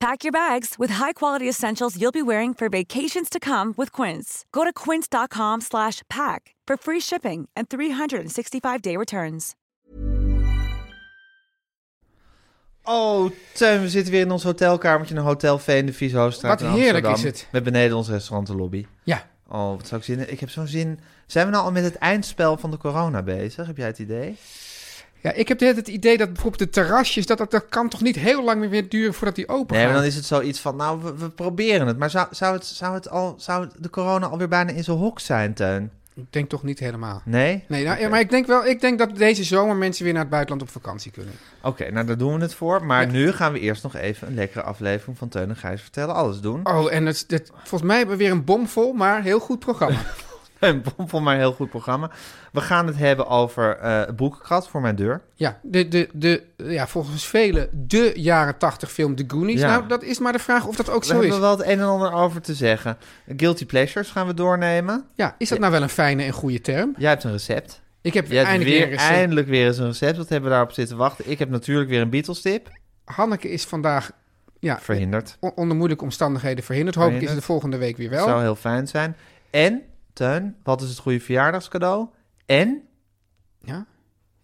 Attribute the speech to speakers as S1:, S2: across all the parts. S1: Pack your bags with high-quality essentials you'll be wearing for vacations to come with Quince. Go to quince.com slash pack for free shipping and 365-day returns.
S2: Oh, Teun, we zitten weer in ons hotelkamertje in een Hotel Veen de Vies Hoofdstraat
S3: Wat
S2: in
S3: heerlijk
S2: Amsterdam.
S3: is het.
S2: Met beneden ons restaurant de lobby.
S3: Ja.
S2: Oh, wat zou ik zin in- Ik heb zo'n zin... Zijn we nou al met het eindspel van de corona bezig? Heb jij het idee?
S3: ja, ik heb de hele tijd het idee dat bijvoorbeeld de terrasjes, dat, dat, dat kan toch niet heel lang meer duren voordat die open
S2: Nee,
S3: gaan.
S2: maar dan is het zoiets van, nou, we, we proberen het. Maar zou, zou, het, zou, het al, zou de corona alweer bijna in zijn hok zijn, Teun?
S3: Ik denk toch niet helemaal.
S2: Nee?
S3: Nee, nou, ja,
S2: Oké.
S3: maar ik denk wel, ik denk dat deze zomer mensen weer naar het buitenland op vakantie kunnen.
S2: Oké, nou daar doen we het voor. Maar
S3: Ja.
S2: nu gaan we eerst nog even een lekkere aflevering van Teun en Gijs vertellen. Alles doen.
S3: Oh, en het, het, volgens mij hebben we weer een bomvol, maar heel goed programma.
S2: Een bomvol, maar een heel goed programma. We gaan het hebben over eh boekenkrat voor mijn deur.
S3: ja, de, de, de, ja, volgens velen de jaren tachtig film The Goonies.
S2: Ja.
S3: Nou, dat is maar de vraag of dat ook
S2: We
S3: zo
S2: hebben
S3: is.
S2: wel het een en ander over te zeggen. Guilty pleasures gaan we doornemen.
S3: Ja, is dat nou wel een fijne en goede term?
S2: Jij hebt een recept.
S3: Ik heb
S2: Jij hebt
S3: eindelijk
S2: weer,
S3: weer eens... eh, een-
S2: eindelijk weer eens een recept. Wat hebben we daarop zitten wachten? Ik heb natuurlijk weer een Beatles tip.
S3: Ah, Hanneke is vandaag ja,
S2: Verhinderd.
S3: on- onder moeilijke omstandigheden verhinderd. Hopelijk is ze de
S2: Verhinderd.
S3: volgende week weer wel.
S2: Zou heel fijn zijn. En, Teun, wat is het goede verjaardagscadeau? En,
S3: Ja,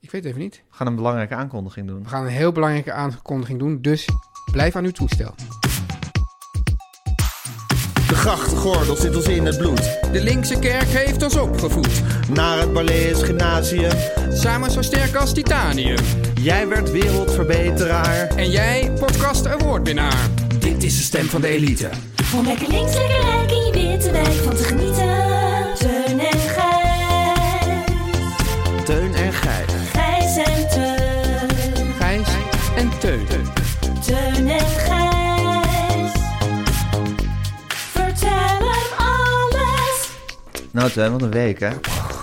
S3: ik weet even niet.
S2: we gaan een belangrijke aankondiging doen.
S3: We gaan een heel belangrijke aankondiging doen, dus blijf aan uw toestel.
S4: De grachtgordel zit ons in het bloed.
S3: De linkse kerk heeft ons opgevoed,
S4: Naar het Barlees Gymnasium.
S3: samen zo sterk als titanium.
S4: Jij werd wereldverbeteraar.
S3: En jij, podcast awardwinnaar.
S4: Dit is de stem van de elite.
S5: Om lekker links, lekker rijk in je witte wijk van te genieten. Teun en Gijs.
S4: Teun en Gijs.
S5: Gijs en Teun.
S3: Gijs en Teun.
S5: Teun en Gijs. Vertel hem alles.
S2: Nou, Teun, wat een week, hè?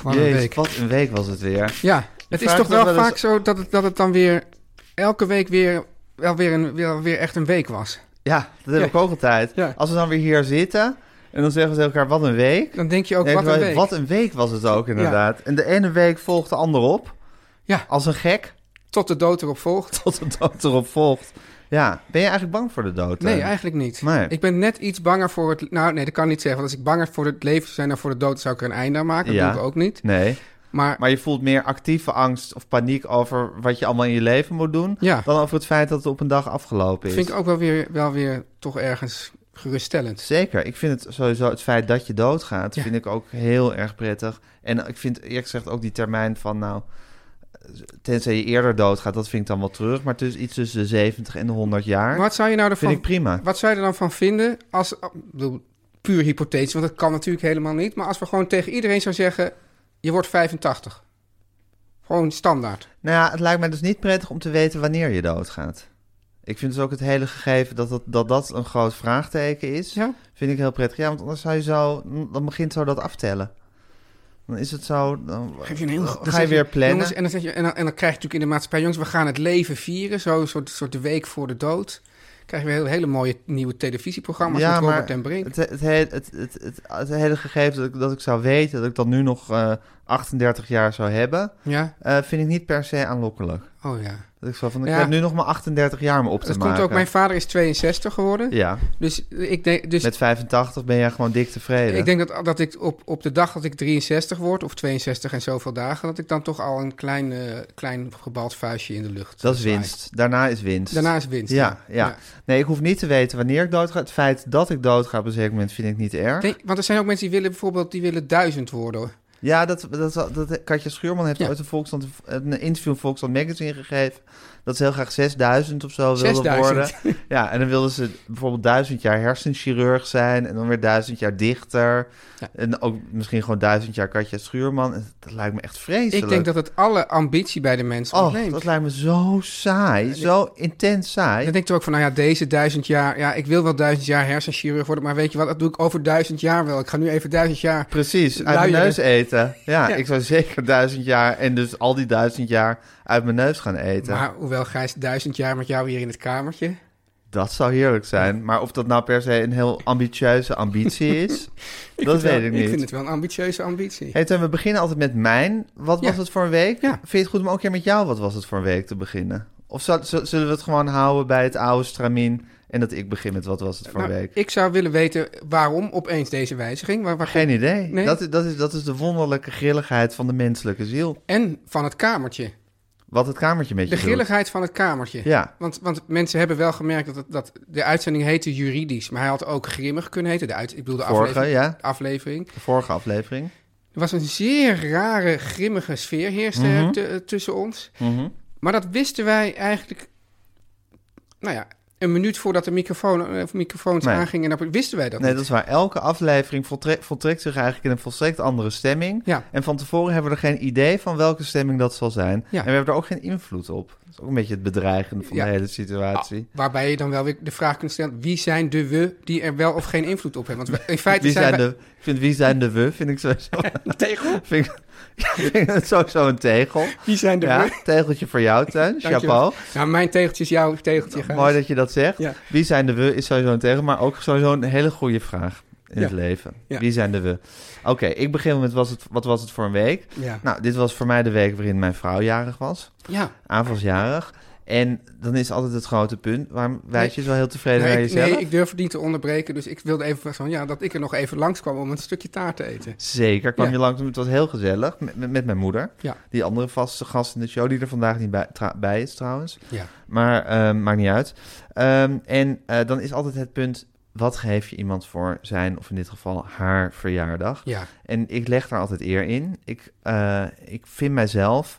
S3: Wat een
S2: Jezus,
S3: week.
S2: wat een week was het weer.
S3: Ja, het is
S2: vraagt
S3: toch
S2: me
S3: wel
S2: wel eens-
S3: vaak zo dat het, dat het dan weer elke week weer, wel weer, een, wel weer echt een week was.
S2: Ja, dat heb
S3: Ja.
S2: ik ook altijd.
S3: Ja.
S2: Als we dan weer hier zitten en dan zeggen we tegen elkaar, wat een week.
S3: Dan denk je ook,
S2: Nee,
S3: wat een
S2: terwijl-
S3: week.
S2: Wat een week was het ook, inderdaad. En de ene week volgt de ander op.
S3: Ja.
S2: Als een gek,
S3: Tot de dood erop volgt.
S2: tot de dood erop volgt. Ja, ben je eigenlijk bang voor de dood?
S3: Nee,
S2: Teun?
S3: eigenlijk niet.
S2: eh, Nee.
S3: Ik ben net iets banger voor het... Nou, nee, dat kan ik niet zeggen. Want als ik banger voor het leven zou zijn dan voor de dood, zou ik er een einde aan maken. Dat
S2: Ja.
S3: doe ik ook niet.
S2: Nee,
S3: Maar,
S2: maar je voelt meer actieve angst of paniek over wat je allemaal in je leven moet doen...
S3: Ja.
S2: dan over het feit dat het op een dag afgelopen
S3: dat
S2: is.
S3: vind ik ook wel weer, wel weer toch ergens geruststellend.
S2: Zeker. Ik vind het sowieso het feit dat je doodgaat,
S3: Ja.
S2: vind ik ook heel erg prettig. En ik vind eerlijk gezegd ook die termijn van nou, tenzij je eerder doodgaat, dat vind ik dan wel terug. Maar tussen iets tussen de 70 en de 100 jaar
S3: Wat zou je nou
S2: vind
S3: ervan...
S2: ik prima.
S3: Wat zou je er dan van vinden als... oh, ik bedoel, Puur hypothetisch, want dat kan natuurlijk helemaal niet. Maar als we gewoon tegen iedereen zou zeggen... Je wordt 85. Gewoon standaard.
S2: Nou ja, het lijkt mij dus niet prettig om te weten wanneer je doodgaat. Ik vind dus ook het hele gegeven dat dat, dat, dat een groot vraagteken is,
S3: Ja?
S2: vind ik heel prettig. Ja, want anders zou je zo, dan begint zo dat aftellen. Dan is het zo, dan,
S3: Geef je een heel
S2: dan
S3: dan
S2: ga je
S3: zeg
S2: weer plannen.
S3: Jongens, en, dan zeg je, en, dan, en dan krijg je natuurlijk in de maatschappij, jongens, we gaan het leven vieren. Zo, een soort, soort de week voor de dood. Krijg je weer hele, hele mooie nieuwe televisieprogramma's met Robert ten Brink.
S2: Het, het, he- het, het, het, het hele gegeven dat ik, dat ik zou weten dat ik dat nu nog eh, 38 jaar zou hebben,
S3: ja,
S2: eh, vind ik niet per se aanlokkelijk.
S3: oh ja.
S2: Dat ik zo van, ik
S3: Ja.
S2: heb nu nog maar 38 jaar me op te
S3: Dat
S2: maken.
S3: komt ook, mijn vader is 62 geworden.
S2: Ja,
S3: Dus, ik denk, dus
S2: met 85 ben jij gewoon dik tevreden.
S3: ik denk dat, dat ik op, op de dag dat ik 63 word, of 62 en zoveel dagen, dat ik dan toch al een klein, eh, klein gebald vuistje in de lucht
S2: dat is
S3: zwaai.
S2: winst. Daarna is winst.
S3: Daarna is winst.
S2: Ja, ja. Nee, ik hoef niet te weten wanneer ik doodga. Het feit dat ik doodga op een zeker moment vind ik niet erg.
S3: Nee, want er zijn ook mensen die willen bijvoorbeeld die willen duizend worden.
S2: Ja, dat, dat, dat Katja Schuurman heeft
S3: Ja.
S2: ooit een, Volkskrant, een interview in Volkskrant Magazine gegeven. Dat ze heel graag 6000 of zo wilde
S3: 6000.
S2: worden. Ja, en dan wilden ze bijvoorbeeld duizend jaar hersenchirurg zijn. En dan weer duizend jaar dichter.
S3: Ja.
S2: En ook misschien gewoon duizend jaar Katja Schuurman. En Dat lijkt me echt vreselijk.
S3: Ik denk dat het alle ambitie bij de mensen
S2: Oh,
S3: ontneemt.
S2: dat lijkt me zo saai. Zo intens saai.
S3: Dan denk ik toch ook van, nou ja, deze duizend jaar... Ja, ik wil wel duizend jaar hersenchirurg worden, maar weet je wat? Dat doe ik over duizend jaar wel. Ik ga nu even duizend jaar...
S2: Precies, uit mijn
S3: Luieren.
S2: neus eten. Ja,
S3: Ja.
S2: ik zou zeker duizend jaar en dus al die duizend jaar uit mijn neus gaan eten.
S3: Maar hoewel, Gijs, duizend jaar met jou hier in het kamertje...
S2: Dat zou heerlijk zijn. Maar of dat nou per se een heel ambitieuze ambitie is, dat weet ik
S3: ik
S2: niet.
S3: vind het wel een ambitieuze ambitie.
S2: Hey, Teun, we beginnen altijd met mijn. Wat
S3: Ja.
S2: was het voor een week?
S3: Ja.
S2: Vind je het goed om ook een keer met jou wat was het voor een week te beginnen? Of zal- z- zullen we het gewoon houden bij het oude stramin en dat ik begin met wat was het voor
S3: Nou,
S2: een week?
S3: ik zou willen weten waarom opeens deze wijziging. Waar, waar-
S2: Geen idee.
S3: Nee.
S2: Dat, is- dat, is, dat is de wonderlijke grilligheid van de menselijke ziel.
S3: En van het kamertje.
S2: Wat het kamertje met je
S3: De
S2: doet.
S3: grilligheid van het kamertje.
S2: Ja.
S3: Want, want mensen hebben wel gemerkt dat, het- dat de uitzending heette juridisch. Maar hij had ook grimmig kunnen heten. De uit, ik bedoel de
S2: Vorige,
S3: aflevering.
S2: ja.
S3: de aflevering.
S2: De vorige aflevering.
S3: Er was een zeer rare, grimmige sfeer heerste
S2: Mhm.
S3: te- tussen ons. Maar dat wisten wij eigenlijk... Nou ja, een minuut voordat de microfoon, eh, microfoons
S2: Nee.
S3: aangingen... dan wisten wij dat
S2: Nee,
S3: niet.
S2: dat is waar. Elke aflevering voltrekt, voltrekt zich eigenlijk in een volstrekt andere stemming.
S3: Ja.
S2: En van tevoren hebben we er geen idee van welke stemming dat zal zijn.
S3: Ja.
S2: En we hebben er ook geen invloed op. Dat is ook een beetje het bedreigende van
S3: Ja. Ah,
S2: de hele situatie.
S3: Waarbij je dan wel weer de vraag kunt stellen: wie zijn de we die er wel of geen invloed op hebben? Want we- in feite
S2: Wie
S3: zijn,
S2: zijn,
S3: wij-
S2: de, ik vind wie zijn de we, vind ik sowieso... tegel? Vind ik, ja, vind ik het sowieso een tegel.
S3: Wie zijn de
S2: Ja,
S3: we?
S2: tegeltje voor jou, Tuin.
S3: Dankjewel.
S2: Chapeau.
S3: Nou, mijn tegeltje is jouw tegeltje. Gijs.
S2: Nou, Mooi dat je dat zegt.
S3: Ja.
S2: Wie zijn de we is sowieso een tegen, maar ook sowieso een hele goede vraag in
S3: Ja.
S2: het leven.
S3: Ja.
S2: Wie zijn de we? Oké, ik begin met was het, wat was het voor een week?
S3: Ja.
S2: Nou, dit was voor mij de week waarin mijn vrouw jarig was.
S3: ja.
S2: Aanvalsjarig. En dan is altijd het grote punt. Waarom wijs je zo heel tevreden
S3: Nee,
S2: naar
S3: ik,
S2: jezelf?
S3: nee, ik durf het niet te onderbreken, dus ik wilde even van ja, dat ik er nog even langskwam om een stukje taart te eten.
S2: Zeker, kwam
S3: Ja.
S2: je langs. Het was heel gezellig met, met, met mijn moeder.
S3: Ja.
S2: Die andere vaste gast in de show, die er vandaag niet bij, tra- bij is trouwens.
S3: Ja.
S2: Maar ehm, maakt niet uit. Ehm, en eh, dan is altijd het punt, wat geef je iemand voor zijn, of in dit geval haar verjaardag?
S3: Ja.
S2: En ik leg daar altijd eer in. Ik, eh, ik vind mijzelf,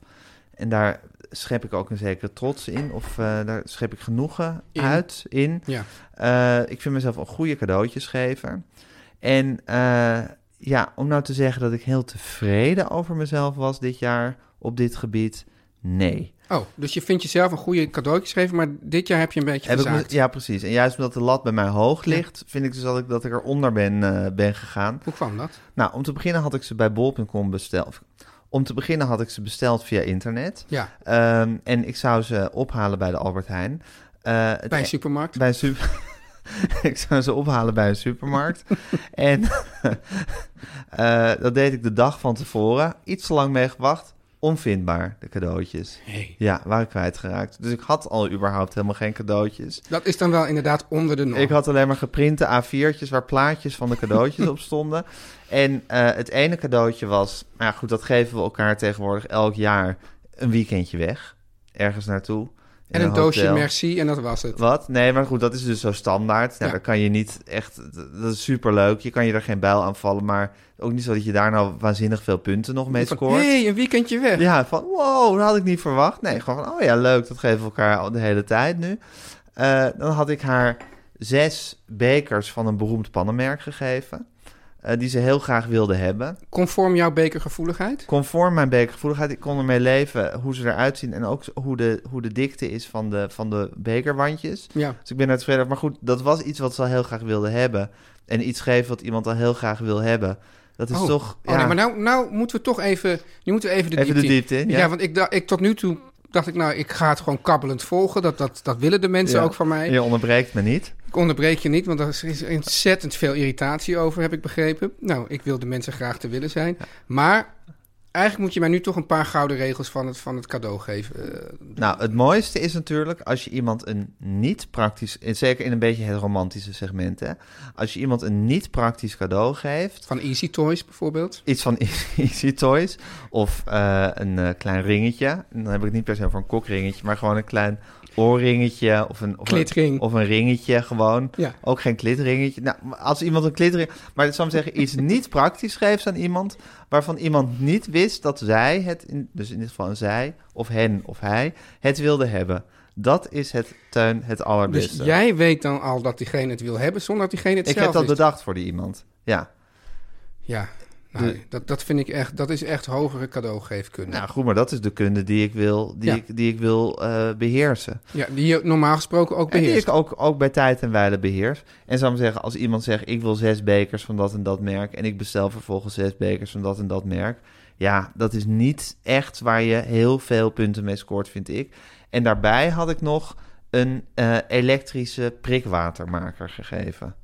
S2: en daar schep ik ook een zekere trots in, of eh, daar schep ik genoegen
S3: In.
S2: uit in.
S3: Ja.
S2: Eh, ik vind mezelf een goede cadeautjesgever. En eh, ja, om nou te zeggen dat ik heel tevreden over mezelf was dit jaar op dit gebied, nee.
S3: Oh, dus je vindt jezelf een goede cadeautje geschreven, maar dit jaar heb je een beetje
S2: Heb ik me-
S3: verzaakt.
S2: ja, precies. En juist omdat de lat bij mij hoog ligt, vind ik dus dat ik, dat ik eronder ben, eh, ben gegaan.
S3: Hoe kwam dat?
S2: Nou, om te beginnen had ik ze bij bol.com besteld. Om te beginnen had ik ze besteld via internet.
S3: Ja,
S2: Ehm, en ik zou ze ophalen bij de Albert Heijn. Eh, het-
S3: bij een supermarkt.
S2: bij een super- ik zou ze ophalen bij een supermarkt. en eh, dat deed ik de dag van tevoren. Iets te lang mee gewacht. Onvindbaar, de cadeautjes.
S3: Hey.
S2: Ja, waren kwijtgeraakt. Dus ik had al überhaupt helemaal geen cadeautjes.
S3: Dat is dan wel inderdaad onder de norm.
S2: Ik had alleen maar geprinte A4'tjes waar plaatjes van de cadeautjes op stonden. En eh, het ene cadeautje was, nou ja, goed, dat geven we elkaar tegenwoordig elk jaar een weekendje weg. Ergens naartoe. in
S3: en een doosje
S2: hotel.
S3: merci en dat was het.
S2: Wat? Nee, maar goed, dat is dus zo standaard. Nou,
S3: Ja.
S2: daar kan je niet echt... Dat is superleuk. Je kan je er geen bijl aan vallen. Maar ook niet zo dat je daar nou waanzinnig veel punten nog mee
S3: Van,
S2: scoort.
S3: hey, een weekendje weg.
S2: Ja, van wow, dat had ik niet verwacht. Nee, gewoon van, oh ja, leuk, dat geven we elkaar al de hele tijd nu. Eh, dan had ik haar zes bekers van een beroemd pannenmerk gegeven. eh, die ze heel graag wilde hebben.
S3: Conform jouw bekergevoeligheid?
S2: Conform mijn bekergevoeligheid, ik kon ermee leven hoe ze eruit zien... en ook hoe de, hoe de dikte is van de, van de bekerwandjes.
S3: Ja. Oh,
S2: Dus ik ben daar tevreden over. Maar goed, dat was iets wat ze al heel graag wilde hebben. En iets geven wat iemand al heel graag wil hebben. Dat is
S3: oh.
S2: toch...
S3: Oh, nee, maar nou, nou moeten we toch even, nu moeten we even de
S2: Even de
S3: diepte in.
S2: diepte in, ja.
S3: want ik, da- ik tot nu toe dacht ik, nou, ik ga het gewoon kabbelend volgen. Dat, dat, dat willen de mensen
S2: Ja.
S3: ook van mij.
S2: Je onderbreekt me niet.
S3: Ik onderbreek je niet, want daar is ontzettend veel irritatie over, heb ik begrepen. Nou, ik wil de mensen graag te willen zijn. Maar eigenlijk moet je mij nu toch een paar gouden regels van het, van het cadeau geven. Eh,
S2: Nou, het mooiste is natuurlijk als je iemand een niet praktisch, en zeker in een beetje het romantische segment, hè, als je iemand een niet praktisch cadeau geeft,
S3: van Easy Toys bijvoorbeeld.
S2: iets van Easy Toys of eh, een eh, klein ringetje, en dan heb ik het niet per se over een kokringetje, maar gewoon een klein oorringetje of een, of een,
S3: Klitring.
S2: of een ringetje gewoon.
S3: Ja.
S2: Ook geen klitringetje. Nou, als iemand een klitring... Maar dat zou ik zeggen, iets niet praktisch geeft aan iemand... waarvan iemand niet wist dat zij het, in, dus in dit geval een zij... of hen of hij, het wilde hebben. Dat is het, Teun, het
S3: Dus
S2: allerbeste.
S3: jij weet dan al dat diegene het wil hebben zonder dat diegene het
S2: eh, ik
S3: zelf
S2: heb dat
S3: wist.
S2: bedacht voor die iemand. Ja.
S3: Ja, nou, dat, dat vind ik echt, dat is echt hogere cadeaugeefkunde.
S2: Nou goed, maar dat is de kunde die ik wil, die
S3: Ja.
S2: ik, die ik wil eh, beheersen.
S3: ja, die je normaal gesproken ook
S2: En die
S3: beheerst.
S2: ik ook, ook bij tijd en wijle beheers. En zou ik zeggen, als iemand zegt... ik wil zes bekers van dat en dat merk... en ik bestel vervolgens zes bekers van dat en dat merk... ja, dat is niet echt waar je heel veel punten mee scoort, vind ik. En daarbij had ik nog een eh, elektrische prikwatermaker gegeven.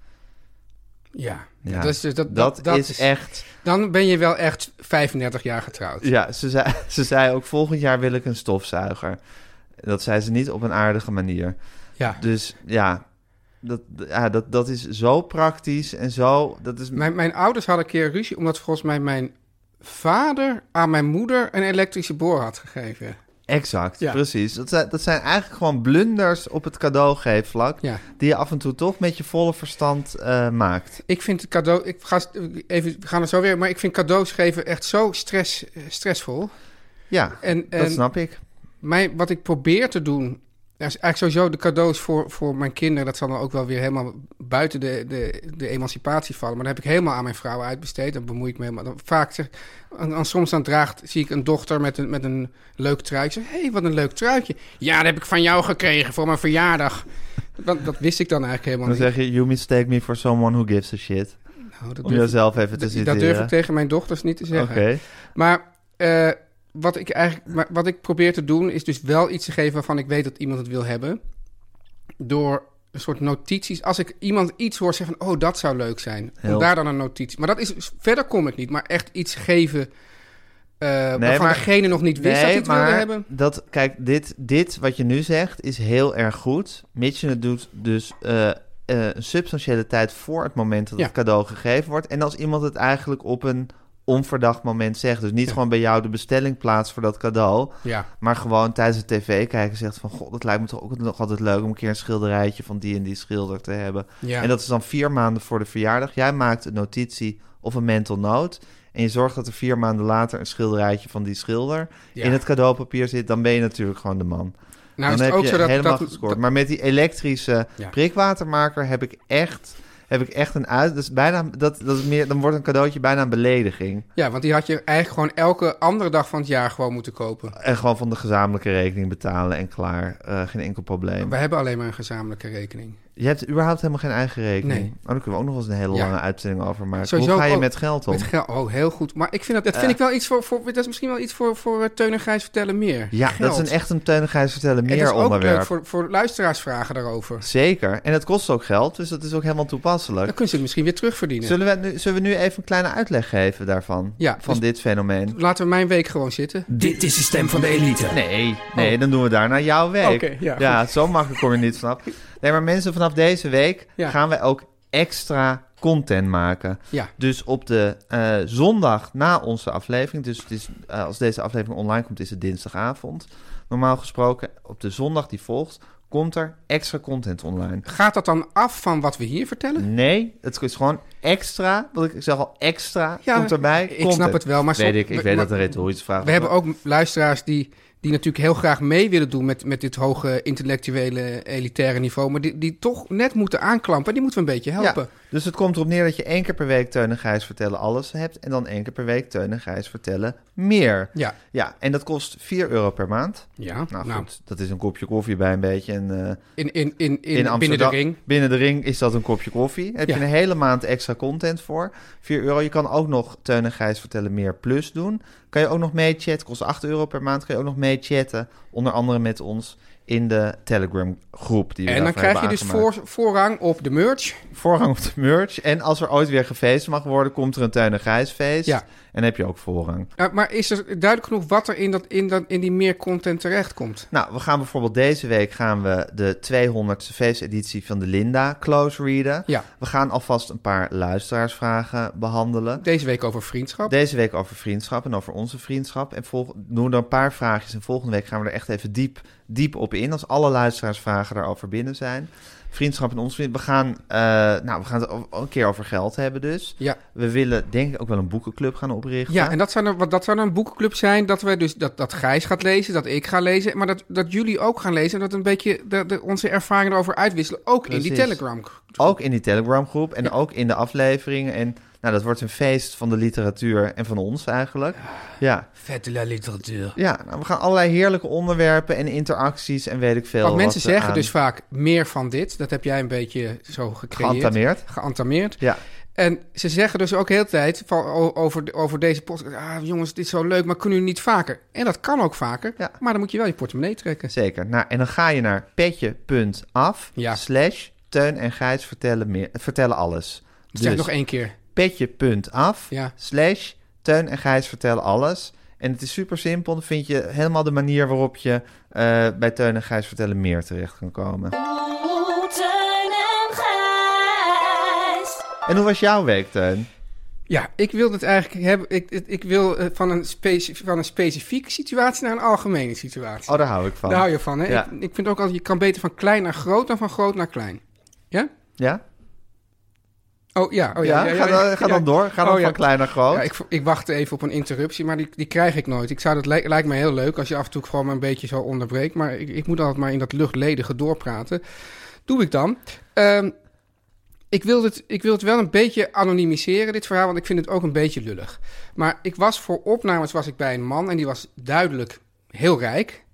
S3: Ja,
S2: Ja,
S3: dat is, dus- dat,
S2: dat,
S3: dat- dat
S2: is echt...
S3: Dan ben je wel echt 35 jaar getrouwd.
S2: Ja, ze zei, ze zei ook volgend jaar wil ik een stofzuiger. Dat zei ze niet op een aardige manier.
S3: Ja.
S2: Dus ja, dat, ja, dat, dat is zo praktisch en zo... Dat is
S3: Mijn, mijn ouders hadden een keer ruzie omdat volgens mij mijn vader aan mijn moeder een elektrische boor had gegeven.
S2: Exact,
S3: Ja.
S2: precies. Dat zijn, dat zijn eigenlijk gewoon blunders op het cadeaugeefvlak...
S3: Ja.
S2: die je af en toe toch met je volle verstand eh, maakt.
S3: Ik vind het cadeau, ik ga s- even, we gaan er zo weer, maar ik vind cadeaus geven echt zo stress, eh, stressvol.
S2: Ja,
S3: En,
S2: dat
S3: en
S2: snap ik.
S3: mijn, wat ik probeer te doen, ja, is eigenlijk sowieso de cadeaus voor, voor mijn kinderen, dat zal dan ook wel weer helemaal buiten de, de, de emancipatie vallen. Maar dat heb ik helemaal aan mijn vrouw uitbesteed. Dan bemoei ik me helemaal. Dan vaak zeg, en, en soms dan draagt, zie ik een dochter met een, met een leuk truitje. Hé, hey, wat een leuk truitje. Ja, dat heb ik van jou gekregen voor mijn verjaardag. Want dat wist ik dan eigenlijk helemaal
S2: Dan
S3: niet.
S2: zeg je, you mistake me for someone who gives a shit.
S3: Nou, dat
S2: Om
S3: durf ik-
S2: jezelf even te
S3: dat
S2: citeren.
S3: durf ik tegen mijn dochters niet te
S2: Oké,
S3: zeggen. Maar eh, wat ik eigenlijk, maar wat ik probeer te doen, is dus wel iets te geven waarvan ik weet dat iemand het wil hebben. Door een soort notities. Als ik iemand iets hoor zeggen van, oh, dat zou leuk zijn.
S2: Heel.
S3: Om daar dan een notitie. Maar dat is, verder kom ik niet. Maar echt iets geven eh waarvan
S2: maar-
S3: degene nog niet wist dat hij
S2: Nee,
S3: het wilde
S2: maar
S3: hebben.
S2: dat, kijk, dit, dit wat je nu zegt is heel erg goed. Mits je het doet dus eh, eh, een substantiële tijd voor het moment dat
S3: Ja.
S2: het cadeau gegeven wordt. En als iemand het eigenlijk op een onverdacht moment zegt. Dus niet gewoon bij jou de bestelling plaatst voor dat cadeau.
S3: Ja.
S2: Maar gewoon tijdens het tv kijken zegt van... God, dat lijkt me toch ook nog altijd leuk om een keer een schilderijtje van die en die schilder te hebben.
S3: Ja.
S2: En dat is dan vier maanden voor de verjaardag. Jij maakt een notitie of een mental note. En je zorgt dat er vier maanden later een schilderijtje van die schilder
S3: Ja.
S2: in het cadeaupapier zit. Dan ben je natuurlijk gewoon de man.
S3: Nou, is
S2: dan heb
S3: het ook
S2: je
S3: zo dat-
S2: helemaal
S3: dat-
S2: gescoord.
S3: dat-
S2: Maar met die elektrische
S3: Ja.
S2: prikwatermaker heb ik echt, heb ik echt een uit... Dat is bijna, dat, dat is meer, dan wordt een cadeautje bijna een belediging.
S3: Ja, want die had je eigenlijk gewoon elke andere dag van het jaar gewoon moeten kopen.
S2: En gewoon van de gezamenlijke rekening betalen en klaar. Eh, geen enkel probleem.
S3: We hebben alleen maar een gezamenlijke rekening.
S2: Je hebt überhaupt helemaal geen eigen rekening.
S3: Nee.
S2: Oh, daar kunnen we ook nog wel eens een hele
S3: Ja.
S2: lange uitzending over maken.
S3: Sowieso
S2: Hoe ga je
S3: ook-
S2: met geld om?
S3: Met geld. Oh, heel goed. Maar ik vind dat, dat vind ik wel iets voor, voor. Dat is misschien wel iets voor, voor eh, Teun en Gijs vertellen meer.
S2: ja, dat is een echt een Teun en Gijs vertellen meer
S3: Het is ook
S2: onderwerp.
S3: leuk voor, voor luisteraarsvragen daarover.
S2: Zeker. En het kost ook geld, dus dat is ook helemaal toepasselijk.
S3: Dan kunnen ze het misschien weer terugverdienen.
S2: Zullen we, nu, zullen we nu even een kleine uitleg geven daarvan?
S3: Ja,
S2: van
S3: dus-
S2: dit fenomeen?
S3: Laten we mijn week gewoon zitten.
S4: Dit is de stem van de elite.
S2: Nee, nee, dan doen we daarna jouw week.
S3: Oh. Oké, ja,
S2: zo makkelijk kom je niet vanaf. Nee, maar mensen, vanaf deze week
S3: Ja.
S2: gaan wij ook extra content maken.
S3: Ja.
S2: Dus op de eh, zondag na onze aflevering, dus het is, eh, als deze aflevering online komt, is het dinsdagavond. Normaal gesproken, op de zondag die volgt, komt er extra content online.
S3: Gaat dat dan af van wat we hier vertellen?
S2: Nee, het is gewoon extra, want ik- ik zeg al extra,
S3: Ja,
S2: komt erbij.
S3: ik
S2: content.
S3: snap het wel, maar
S2: Weet
S3: som-
S2: ik, ik
S3: we-
S2: weet
S3: maar-
S2: dat een retorische vraag
S3: We hebben ook luisteraars die, die natuurlijk heel graag mee willen doen met, met dit hoge intellectuele elitaire niveau. Maar die, die toch net moeten aanklampen. Die moeten we een beetje helpen.
S2: Ja, dus het komt erop neer dat je één keer per week Teun en Gijs vertellen alles hebt... en dan één keer per week Teun en Gijs vertellen meer.
S3: Ja.
S2: Ja, en dat kost 4 euro per maand.
S3: Ja,
S2: Nou,
S3: nou.
S2: goed, dat is een kopje koffie bij een beetje. En, eh,
S3: In, in, in, in,
S2: in Amsterdam,
S3: binnen de ring.
S2: binnen de ring is dat een kopje koffie. Daar heb
S3: Ja.
S2: je een hele maand extra content voor. 4 euro. Je kan ook nog Teun en Gijs vertellen meer plus doen. Kan je ook nog mee chatten. Kost 8 euro per maand. Kan je ook nog mee chatten. Onder andere met ons in de Telegram groep. Die we
S3: En dan
S2: daarvoor
S3: krijg je
S2: hebben
S3: dus
S2: aangemaakt
S3: voor, voorrang op de merch.
S2: voorrang op de merch. En als er ooit weer gefeest mag worden, komt er een Tuin en Gijs feest.
S3: Ja.
S2: En dan heb je ook voorrang.
S3: Eh, maar is er duidelijk genoeg wat er in, dat, in, dat, in die meer content terechtkomt?
S2: Nou, we gaan bijvoorbeeld deze week gaan we de 200ste feesteditie van de Linda close readen.
S3: Ja.
S2: We gaan alvast een paar luisteraarsvragen behandelen.
S3: Deze week over vriendschap.
S2: Deze week over vriendschap en over onze vriendschap. En volg, doen we er een paar vraagjes. En volgende week gaan we er echt even diep, diep op open in als alle luisteraarsvragen daarover binnen zijn. Vriendschap en ons We gaan, eh, nou, we gaan het o- een keer over geld hebben dus.
S3: Ja.
S2: We willen denk ik ook wel een boekenclub gaan oprichten.
S3: Ja, en dat zou, dan, wat, dat zou dan een boekenclub zijn dat, we dus, dat, dat Gijs gaat lezen, dat ik ga lezen, maar dat, dat jullie ook gaan lezen en dat een beetje de, de- onze ervaringen erover uitwisselen, ook in die
S2: Precies.
S3: Telegram.
S2: Ook in die Telegram groep en ook in de afleveringen. En nou, dat wordt een feest van de literatuur en van ons eigenlijk. Ja,
S3: Vette literatuur.
S2: ja nou, we gaan allerlei heerlijke onderwerpen en interacties en weet ik veel. ehm,
S3: Wat mensen
S2: we
S3: zeggen
S2: aan-
S3: dus vaak meer van dit, dat heb jij een beetje zo gecreëerd.
S2: Geantameerd.
S3: Geantameerd.
S2: Ja,
S3: En ze zeggen dus ook heel de tijd van, o- over, over deze podcast... Ah, jongens, dit is zo leuk, maar kunnen jullie niet vaker? En dat kan ook vaker,
S2: Ja.
S3: maar dan moet je wel je portemonnee trekken.
S2: zeker. Nou, en dan ga je naar petje.af
S3: Ja.
S2: slash Teun en Gijs vertellen, meer, vertellen alles. Dus
S3: Zeg nog één keer.
S2: petje.af
S3: Ja.
S2: slash Teun en Gijs vertellen alles. En het is super simpel. Dan vind je helemaal de manier waarop je eh, bij Teun en Gijs vertellen meer terecht kan komen.
S5: Oh, Teun en Gijs.
S2: En hoe was jouw week, Teun?
S3: Ja, ik wil het eigenlijk hebben. Ik, ik, ik wil eh, van een, speci- van een specifieke situatie naar een algemene situatie.
S2: Oh, daar hou ik van.
S3: Daar hou je van, hè?
S2: Ja.
S3: Ik, ik vind ook altijd, je kan beter van klein naar groot dan van groot naar klein. Ja?
S2: Ja?
S3: Oh ja, oh ja. Oh,
S2: Ja? Ga dan- ga dan door. Ga dan van klein naar groot.
S3: Ja, ik, ik wachtte even op een interruptie, maar die, die krijg ik nooit. Ik zou, dat lij- lijkt me heel leuk als je af en toe gewoon een beetje zo onderbreekt. Maar ik, ik moet altijd maar in dat luchtledige doorpraten. Doe ik dan. Ehm, ik, wil het, ik wil het wel een beetje anonimiseren, dit verhaal, want ik vind het ook een beetje lullig. Maar ik was voor opnames was ik bij een man en die was duidelijk heel rijk.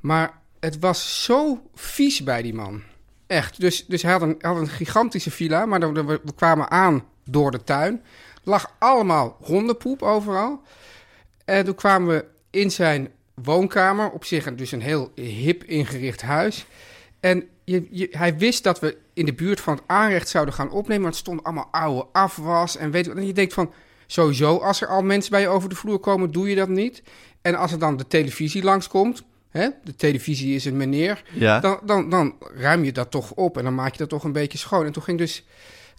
S3: Maar het was zo vies bij die man. Echt. Dus, dus hij had een, had een gigantische villa, maar dan, we, we kwamen aan door de tuin. Lag allemaal hondenpoep overal. En toen kwamen we in zijn woonkamer, op zich een- dus een heel hip ingericht huis. En je, je, hij wist dat we in de buurt van het aanrecht zouden gaan opnemen, maar het stond allemaal oude afwas en weet je wat. En je denkt van, sowieso, als er al mensen bij je over de vloer komen, doe je dat niet. En als er dan de televisie langskomt, hè, de televisie is een meneer,
S2: Ja.
S3: dan, dan, dan ruim je dat toch op en dan maak je dat toch een beetje schoon. En toen ging dus,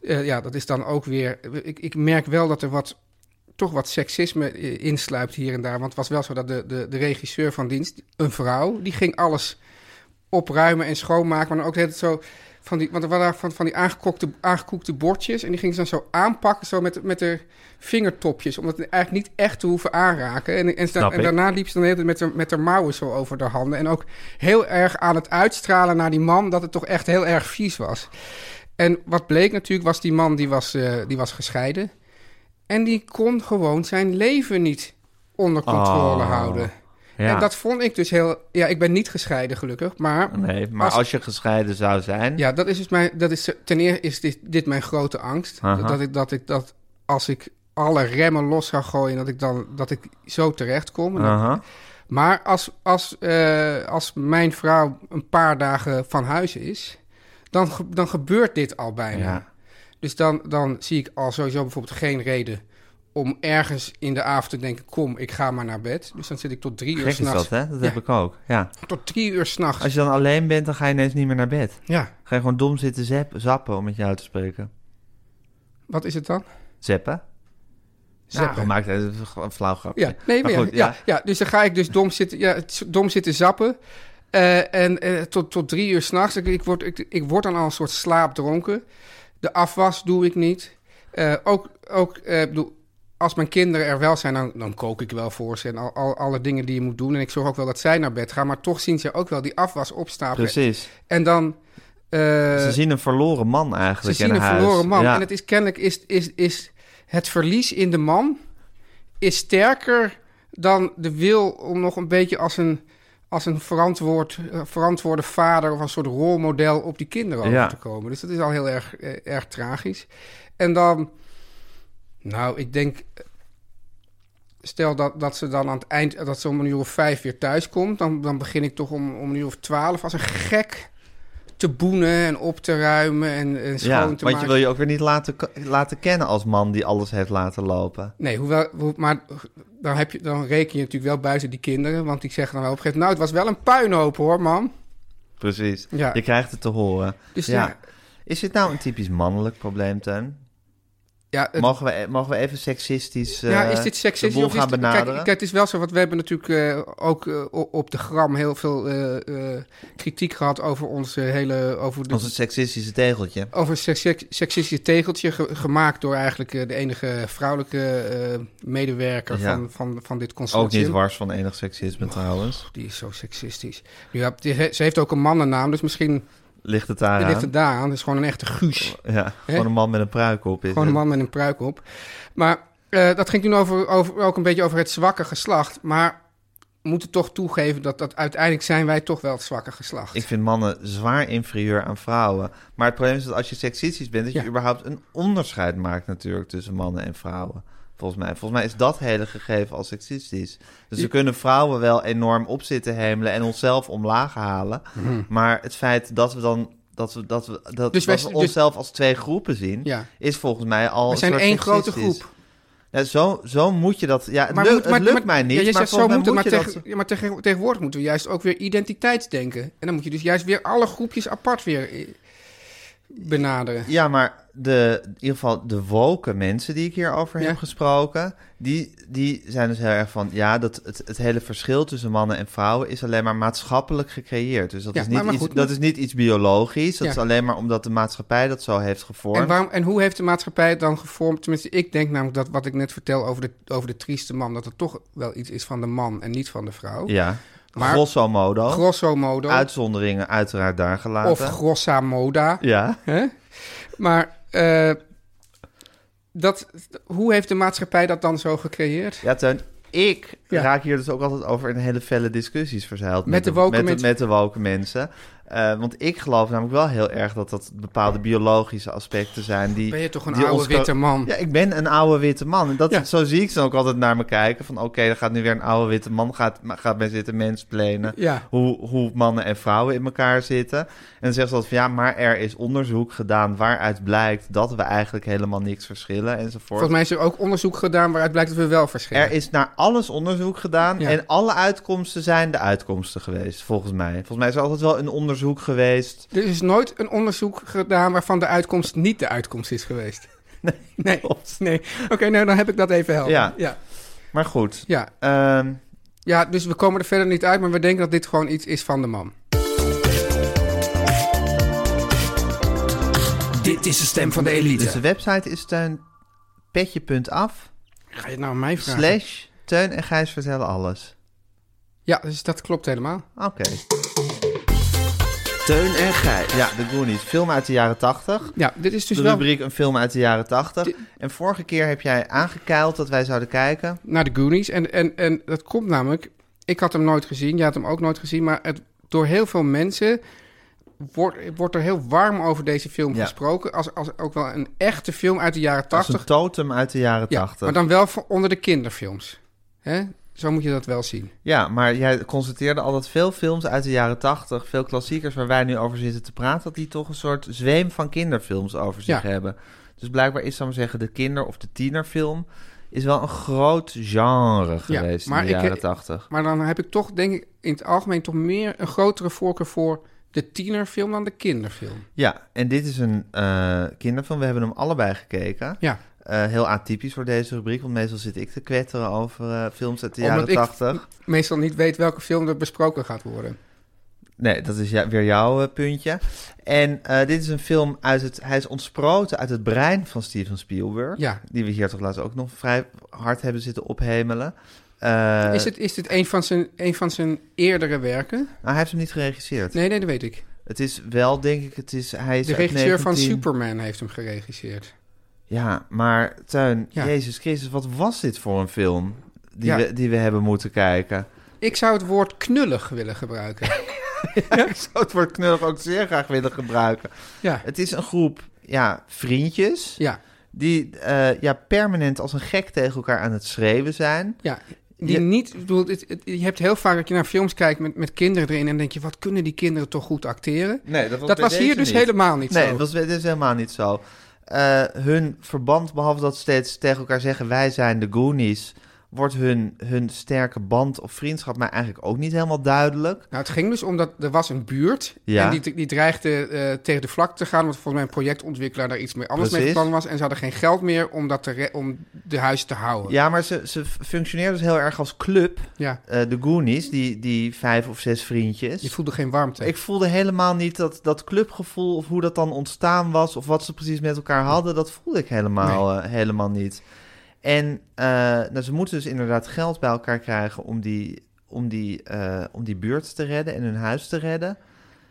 S3: eh, ja, dat is dan ook weer, ik, ik merk wel dat er wat toch wat seksisme eh, insluipt hier en daar. Want het was wel zo dat de, de, de regisseur van dienst, een vrouw, die ging alles opruimen en schoonmaken. Maar dan ook de hele tijd zo van die, want er waren van, van die aangekookte, aangekoekte bordjes. En die ging ze dan zo aanpakken, zo met, met haar vingertopjes. Om dat eigenlijk niet echt te hoeven aanraken. En, en, ze-
S2: Snap
S3: en
S2: ik.
S3: daarna liep ze dan de hele tijd met haar, met haar mouwen zo over de handen. En ook heel erg aan het uitstralen naar die man dat het toch echt heel erg vies was. En wat bleek natuurlijk was die man die was, eh, die was gescheiden. En die kon gewoon zijn leven niet onder controle
S2: Oh,
S3: houden.
S2: ja.
S3: En dat vond ik dus heel... Ja, ik ben niet gescheiden gelukkig, maar...
S2: Nee, maar als... je gescheiden zou zijn...
S3: Ja, dat is dus mijn... Dat is, ten eerste is dit, dit mijn grote angst.
S2: Aha.
S3: Dat ik dat ik dat... Als ik alle remmen los zou gooien, dat ik dan dat ik zo terecht kom. En dat-
S2: Aha.
S3: Maar als, als, eh, als mijn vrouw een paar dagen van huis is, dan, ge- dan gebeurt dit al bijna.
S2: Ja.
S3: Dus dan, dan zie ik al sowieso bijvoorbeeld geen reden om ergens in de avond te denken: kom, ik ga maar naar bed. Dus dan zit ik tot drie uur
S2: Gek is
S3: s'nachts.
S2: dat, hè? Dat heb ik ook. Ja.
S3: Tot drie uur s'nachts.
S2: Als je dan alleen bent, dan ga je ineens niet meer naar bed.
S3: Ja,
S2: Ga je gewoon dom zitten zep- zappen, om het je uit te spreken.
S3: wat is het dan?
S2: Zeppen?
S3: Zeppen.
S2: Nou, maakt het het is gewoon een flauw grapje.
S3: Ja, nee, maar,
S2: maar
S3: ja,
S2: goed,
S3: ja. Ja, dus dan ga ik dus dom zitten, ja, het- dom zitten zappen. Eh, en eh, tot, tot drie uur s'nachts. Ik, ik, word, ik, ik word dan al een soort slaapdronken. De afwas doe ik niet. Eh, ook, ook eh, ik bedoel, als mijn kinderen er wel zijn, dan, dan kook ik wel voor ze. En al, al- alle dingen die je moet doen. En ik zorg ook wel dat zij naar bed gaan. Maar toch zien ze ook wel die afwas opstapelen.
S2: Precies.
S3: En dan... eh,
S2: Ze zien een verloren man
S3: ze
S2: eigenlijk in
S3: zien een
S2: huis.
S3: verloren man.
S2: Ja.
S3: En het is kennelijk is, is, is het verlies in de man is sterker dan de wil om nog een beetje als een, als een verantwoord, eh, verantwoorde vader of een soort rolmodel op die kinderen over
S2: Ja.
S3: te komen. Dus dat is al heel erg, eh, erg tragisch. En dan, nou, ik denk. eh, Stel dat, dat ze dan aan het eind, dat ze om een uur of vijf weer thuis komt, dan, dan begin ik toch om, om een uur of twaalf als een gek te boenen en op te ruimen en, en schoon
S2: ja,
S3: te
S2: want
S3: maken.
S2: je wil je ook weer niet laten, laten kennen als man die alles heeft laten lopen.
S3: Nee, hoewel, hoe- maar dan, heb je, dan reken je natuurlijk wel buiten die kinderen, want die zeggen dan wel op een gegeven moment, nou, het was wel een puinhoop hoor, man.
S2: Precies.
S3: Ja.
S2: Je krijgt het te horen.
S3: Dus
S2: ja.
S3: ja.
S2: Is dit nou een typisch mannelijk probleem, Teun?
S3: Ja, het-
S2: Mogen we, mogen we even seksistisch eh
S3: ja, is dit
S2: de
S3: seksistisch
S2: boel
S3: of is
S2: gaan
S3: dit-
S2: benaderen?
S3: Kijk, kijk, het is wel zo, want we hebben natuurlijk eh, ook eh, o- op de gram heel veel eh, eh, kritiek gehad over onze hele... Over de,
S2: Ons seksistische tegeltje.
S3: over een seks- seks- seksistisch tegeltje ge- gemaakt door eigenlijk eh, de enige vrouwelijke eh, medewerker
S2: Ja.
S3: van, van, van dit
S2: Ook
S3: consortium.
S2: niet wars van enig seksisme trouwens.
S3: Die is zo seksistisch. Nu, ja, die he- ze heeft ook een mannennaam, dus misschien
S2: Ligt het daar
S3: ligt
S2: aan?
S3: het daar aan. Het is gewoon een echte guus.
S2: Ja, gewoon een man met een pruik op is
S3: Gewoon een
S2: het.
S3: man met een pruik op. Maar eh, dat ging toen over, over, ook een beetje over het zwakke geslacht. Maar we moeten toch toegeven dat, dat uiteindelijk zijn wij toch wel het zwakke geslacht.
S2: Ik vind mannen zwaar inferieur aan vrouwen. Maar het probleem is dat als je seksistisch bent... dat
S3: Ja.
S2: je überhaupt een onderscheid maakt natuurlijk tussen mannen en vrouwen. Volgens mij. Volgens mij is dat hele gegeven als seksistisch. Dus we kunnen vrouwen wel enorm op zitten hemelen... en onszelf omlaag halen. Maar het feit dat we dan... dat we, dat we, dat,
S3: Mhm. Dus wij
S2: dat we
S3: s- dus-
S2: onszelf als twee groepen zien...
S3: Ja.
S2: is volgens mij al
S3: we
S2: een
S3: zijn
S2: soort
S3: één grote
S2: seksistisch.
S3: groep.
S2: Ja, zo, zo moet je dat... Ja, het,
S3: we
S2: lukt-
S3: moeten-
S2: het lukt mij
S3: ja,
S2: niet,
S3: je
S2: maar
S3: zegt, zo
S2: volgens mij
S3: moet het, maar,
S2: moet je dat...
S3: tegen- ja, maar tegen- tegenwoordig moeten we juist ook weer identiteitsdenken. En dan moet je dus juist weer alle groepjes apart weer eh, benaderen.
S2: Ja, maar de, in ieder geval de woke mensen die ik hierover
S3: Ja.
S2: heb gesproken... Die, die zijn dus heel erg van... ja, dat het, het hele verschil tussen mannen en vrouwen... is alleen maar maatschappelijk gecreëerd. Dus dat,
S3: Ja,
S2: is, niet
S3: maar- maar
S2: iets,
S3: goed,
S2: dat
S3: maar-
S2: is niet iets biologisch. Dat
S3: Ja.
S2: is alleen maar omdat de maatschappij dat zo heeft gevormd.
S3: En, waarom, en hoe heeft de maatschappij het dan gevormd? Tenminste, ik denk namelijk dat wat ik net vertel over de, over de trieste man... dat het toch wel iets is van de man en niet van de vrouw.
S2: Ja,
S3: Maar-
S2: grosso modo.
S3: Grosso modo.
S2: uitzonderingen uiteraard daar gelaten.
S3: Of grossa moda.
S2: ja,
S3: Hè? Maar eh, dat, hoe heeft de maatschappij dat dan zo gecreëerd?
S2: ja Teun, ik
S3: Ja.
S2: raak hier dus ook altijd over in hele felle discussies verzeild.
S3: Met de woke
S2: met,
S3: mensen.
S2: Met de woke mensen. Eh, want ik geloof namelijk wel heel erg dat dat bepaalde biologische aspecten zijn die...
S3: Ben je toch een
S2: die
S3: oude
S2: ons ge-
S3: witte man?
S2: Ja, ik ben een oude witte man. En dat,
S3: Ja.
S2: zo zie ik ze ook altijd naar me kijken. Van oké, er gaat nu weer een oude witte man. Gaat, gaat men zitten mensplenen.
S3: Ja.
S2: Hoe, hoe mannen en vrouwen in elkaar zitten. En dan zeggen ze altijd van ja, maar er is onderzoek gedaan... waaruit blijkt dat we eigenlijk helemaal niks verschillen enzovoort.
S3: Volgens mij is er ook onderzoek gedaan waaruit blijkt dat we wel verschillen.
S2: Er is naar alles onderzoek gedaan
S3: Ja.
S2: en alle uitkomsten zijn de uitkomsten geweest, volgens mij. Volgens mij is er altijd wel een onderzoek geweest.
S3: Er is nooit een onderzoek gedaan waarvan de uitkomst niet de uitkomst is geweest. Nee. Nee.
S2: klopt.
S3: Oké, nou dan heb ik dat even helpen.
S2: Ja.
S3: Ja.
S2: Maar goed,
S3: Ja.
S2: ehm,
S3: ja, dus we komen er verder niet uit, maar we denken dat dit gewoon iets is van de man.
S4: Dit is de stem van de
S2: dus de
S4: elite.
S2: website is teun petje.af
S3: Ga je het nou aan mij vragen?
S2: slash teun en Gijs vertellen alles.
S3: Ja, dus dat klopt helemaal.
S2: Oké,
S4: Teun en Gijs.
S2: ja, de Goonies, film uit de jaren 80.
S3: Ja, dit is dus
S2: De
S3: wel
S2: rubriek een film uit de jaren 80. En vorige keer heb jij aangekeild dat wij zouden kijken.
S3: naar de Goonies. En, en, en dat komt namelijk... Ik had hem nooit gezien, jij had hem ook nooit gezien. Maar het, door heel veel mensen wordt, wordt er heel warm over deze film
S2: Ja.
S3: gesproken. Als, als ook wel een echte film uit de jaren
S2: Dat is
S3: 80.
S2: een totem uit de jaren
S3: Ja,
S2: 80.
S3: maar dan wel voor onder de kinderfilms. Hè? Zo moet je dat wel zien.
S2: Ja, maar jij constateerde al dat veel films uit de jaren 80, veel klassiekers waar wij nu over zitten te praten, dat die toch een soort zweem van kinderfilms over zich
S3: Ja.
S2: hebben. Dus blijkbaar is, zou ik maar zeggen, de kinder- of de tienerfilm is wel een groot genre geweest
S3: maar
S2: in
S3: ik-
S2: de jaren 80.
S3: Maar dan heb ik toch, denk ik, in het algemeen toch meer een grotere voorkeur voor de tienerfilm dan de kinderfilm.
S2: Ja, en dit is een eh, kinderfilm. We hebben hem allebei gekeken.
S3: Ja,
S2: Eh, heel atypisch voor deze rubriek, want meestal zit ik te kwetteren over eh, films uit de
S3: omdat
S2: jaren
S3: ik
S2: 80.
S3: meestal niet weet welke film er besproken gaat worden.
S2: Nee, dat is ja- weer jouw eh, puntje. En eh, dit is een film uit het... Hij is ontsproten uit het brein van Steven Spielberg.
S3: Ja.
S2: Die we hier toch laatst ook nog vrij hard hebben zitten ophemelen. Eh,
S3: Is, het, is dit een van, zijn, een van zijn eerdere werken?
S2: nou, hij heeft hem niet geregisseerd.
S3: Nee, nee, dat weet ik.
S2: Het is wel, denk ik, het is... Hij is
S3: De
S2: uit
S3: regisseur van
S2: 19
S3: Superman heeft hem geregisseerd.
S2: Ja, maar Tuin,
S3: Ja.
S2: Jezus Christus, wat was dit voor een film die,
S3: Ja.
S2: we, die we hebben moeten kijken?
S3: Ik zou het woord knullig willen gebruiken.
S2: Ik zou het woord knullig ook zeer graag willen gebruiken.
S3: Ja,
S2: Het is een groep, ja, vriendjes...
S3: ja,
S2: die eh, ja, permanent als een gek tegen elkaar aan het schreeuwen zijn.
S3: ja. Die
S2: Je-
S3: niet, ik bedoel, het- het- je hebt heel vaak dat je naar films kijkt met, met kinderen erin... en denk je, wat kunnen die kinderen toch goed acteren?
S2: Nee, dat
S3: dat was hier dus helemaal niet
S2: Nee,
S3: zo.
S2: dat was dit is helemaal niet zo. Eh, hun verband, behalve dat ze steeds tegen elkaar zeggen... wij zijn de Goonies wordt hun, hun sterke band of vriendschap mij eigenlijk ook niet helemaal duidelijk.
S3: Nou, het ging dus omdat er was een buurt
S2: Ja.
S3: en die, die dreigde eh, tegen de vlakte te gaan, omdat volgens mij een projectontwikkelaar daar iets mee anders mee
S2: Precies.
S3: van plan was en ze hadden geen geld meer om, dat te re- om de huizen te houden.
S2: Ja, maar ze, ze functioneert dus heel erg als club.
S3: Ja.
S2: Eh, de Goonies, die, die vijf of zes vriendjes.
S3: Je voelde geen warmte.
S2: Ik voelde helemaal niet dat, dat clubgevoel of hoe dat dan ontstaan was of wat ze precies met elkaar hadden. Dat voelde ik helemaal, eh, helemaal niet. En eh, nou, ze moeten dus inderdaad geld bij elkaar krijgen om die, om, die, eh, om die buurt te redden en hun huis te redden.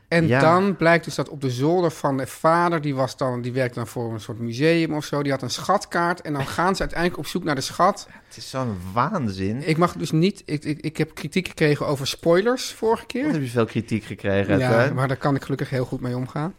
S3: En
S2: Ja.
S3: dan blijkt dus dat op de zolder van de vader, die, was dan, die werkte dan voor een soort museum of zo, die had een schatkaart. En dan gaan ze uiteindelijk op zoek naar de schat.
S2: Het is zo'n waanzin.
S3: Ik mag dus niet, ik, ik, ik heb kritiek gekregen over spoilers vorige
S2: Dan
S3: keer.
S2: heb je veel kritiek gekregen.
S3: Ja,
S2: hè?
S3: maar daar kan ik gelukkig heel goed mee omgaan.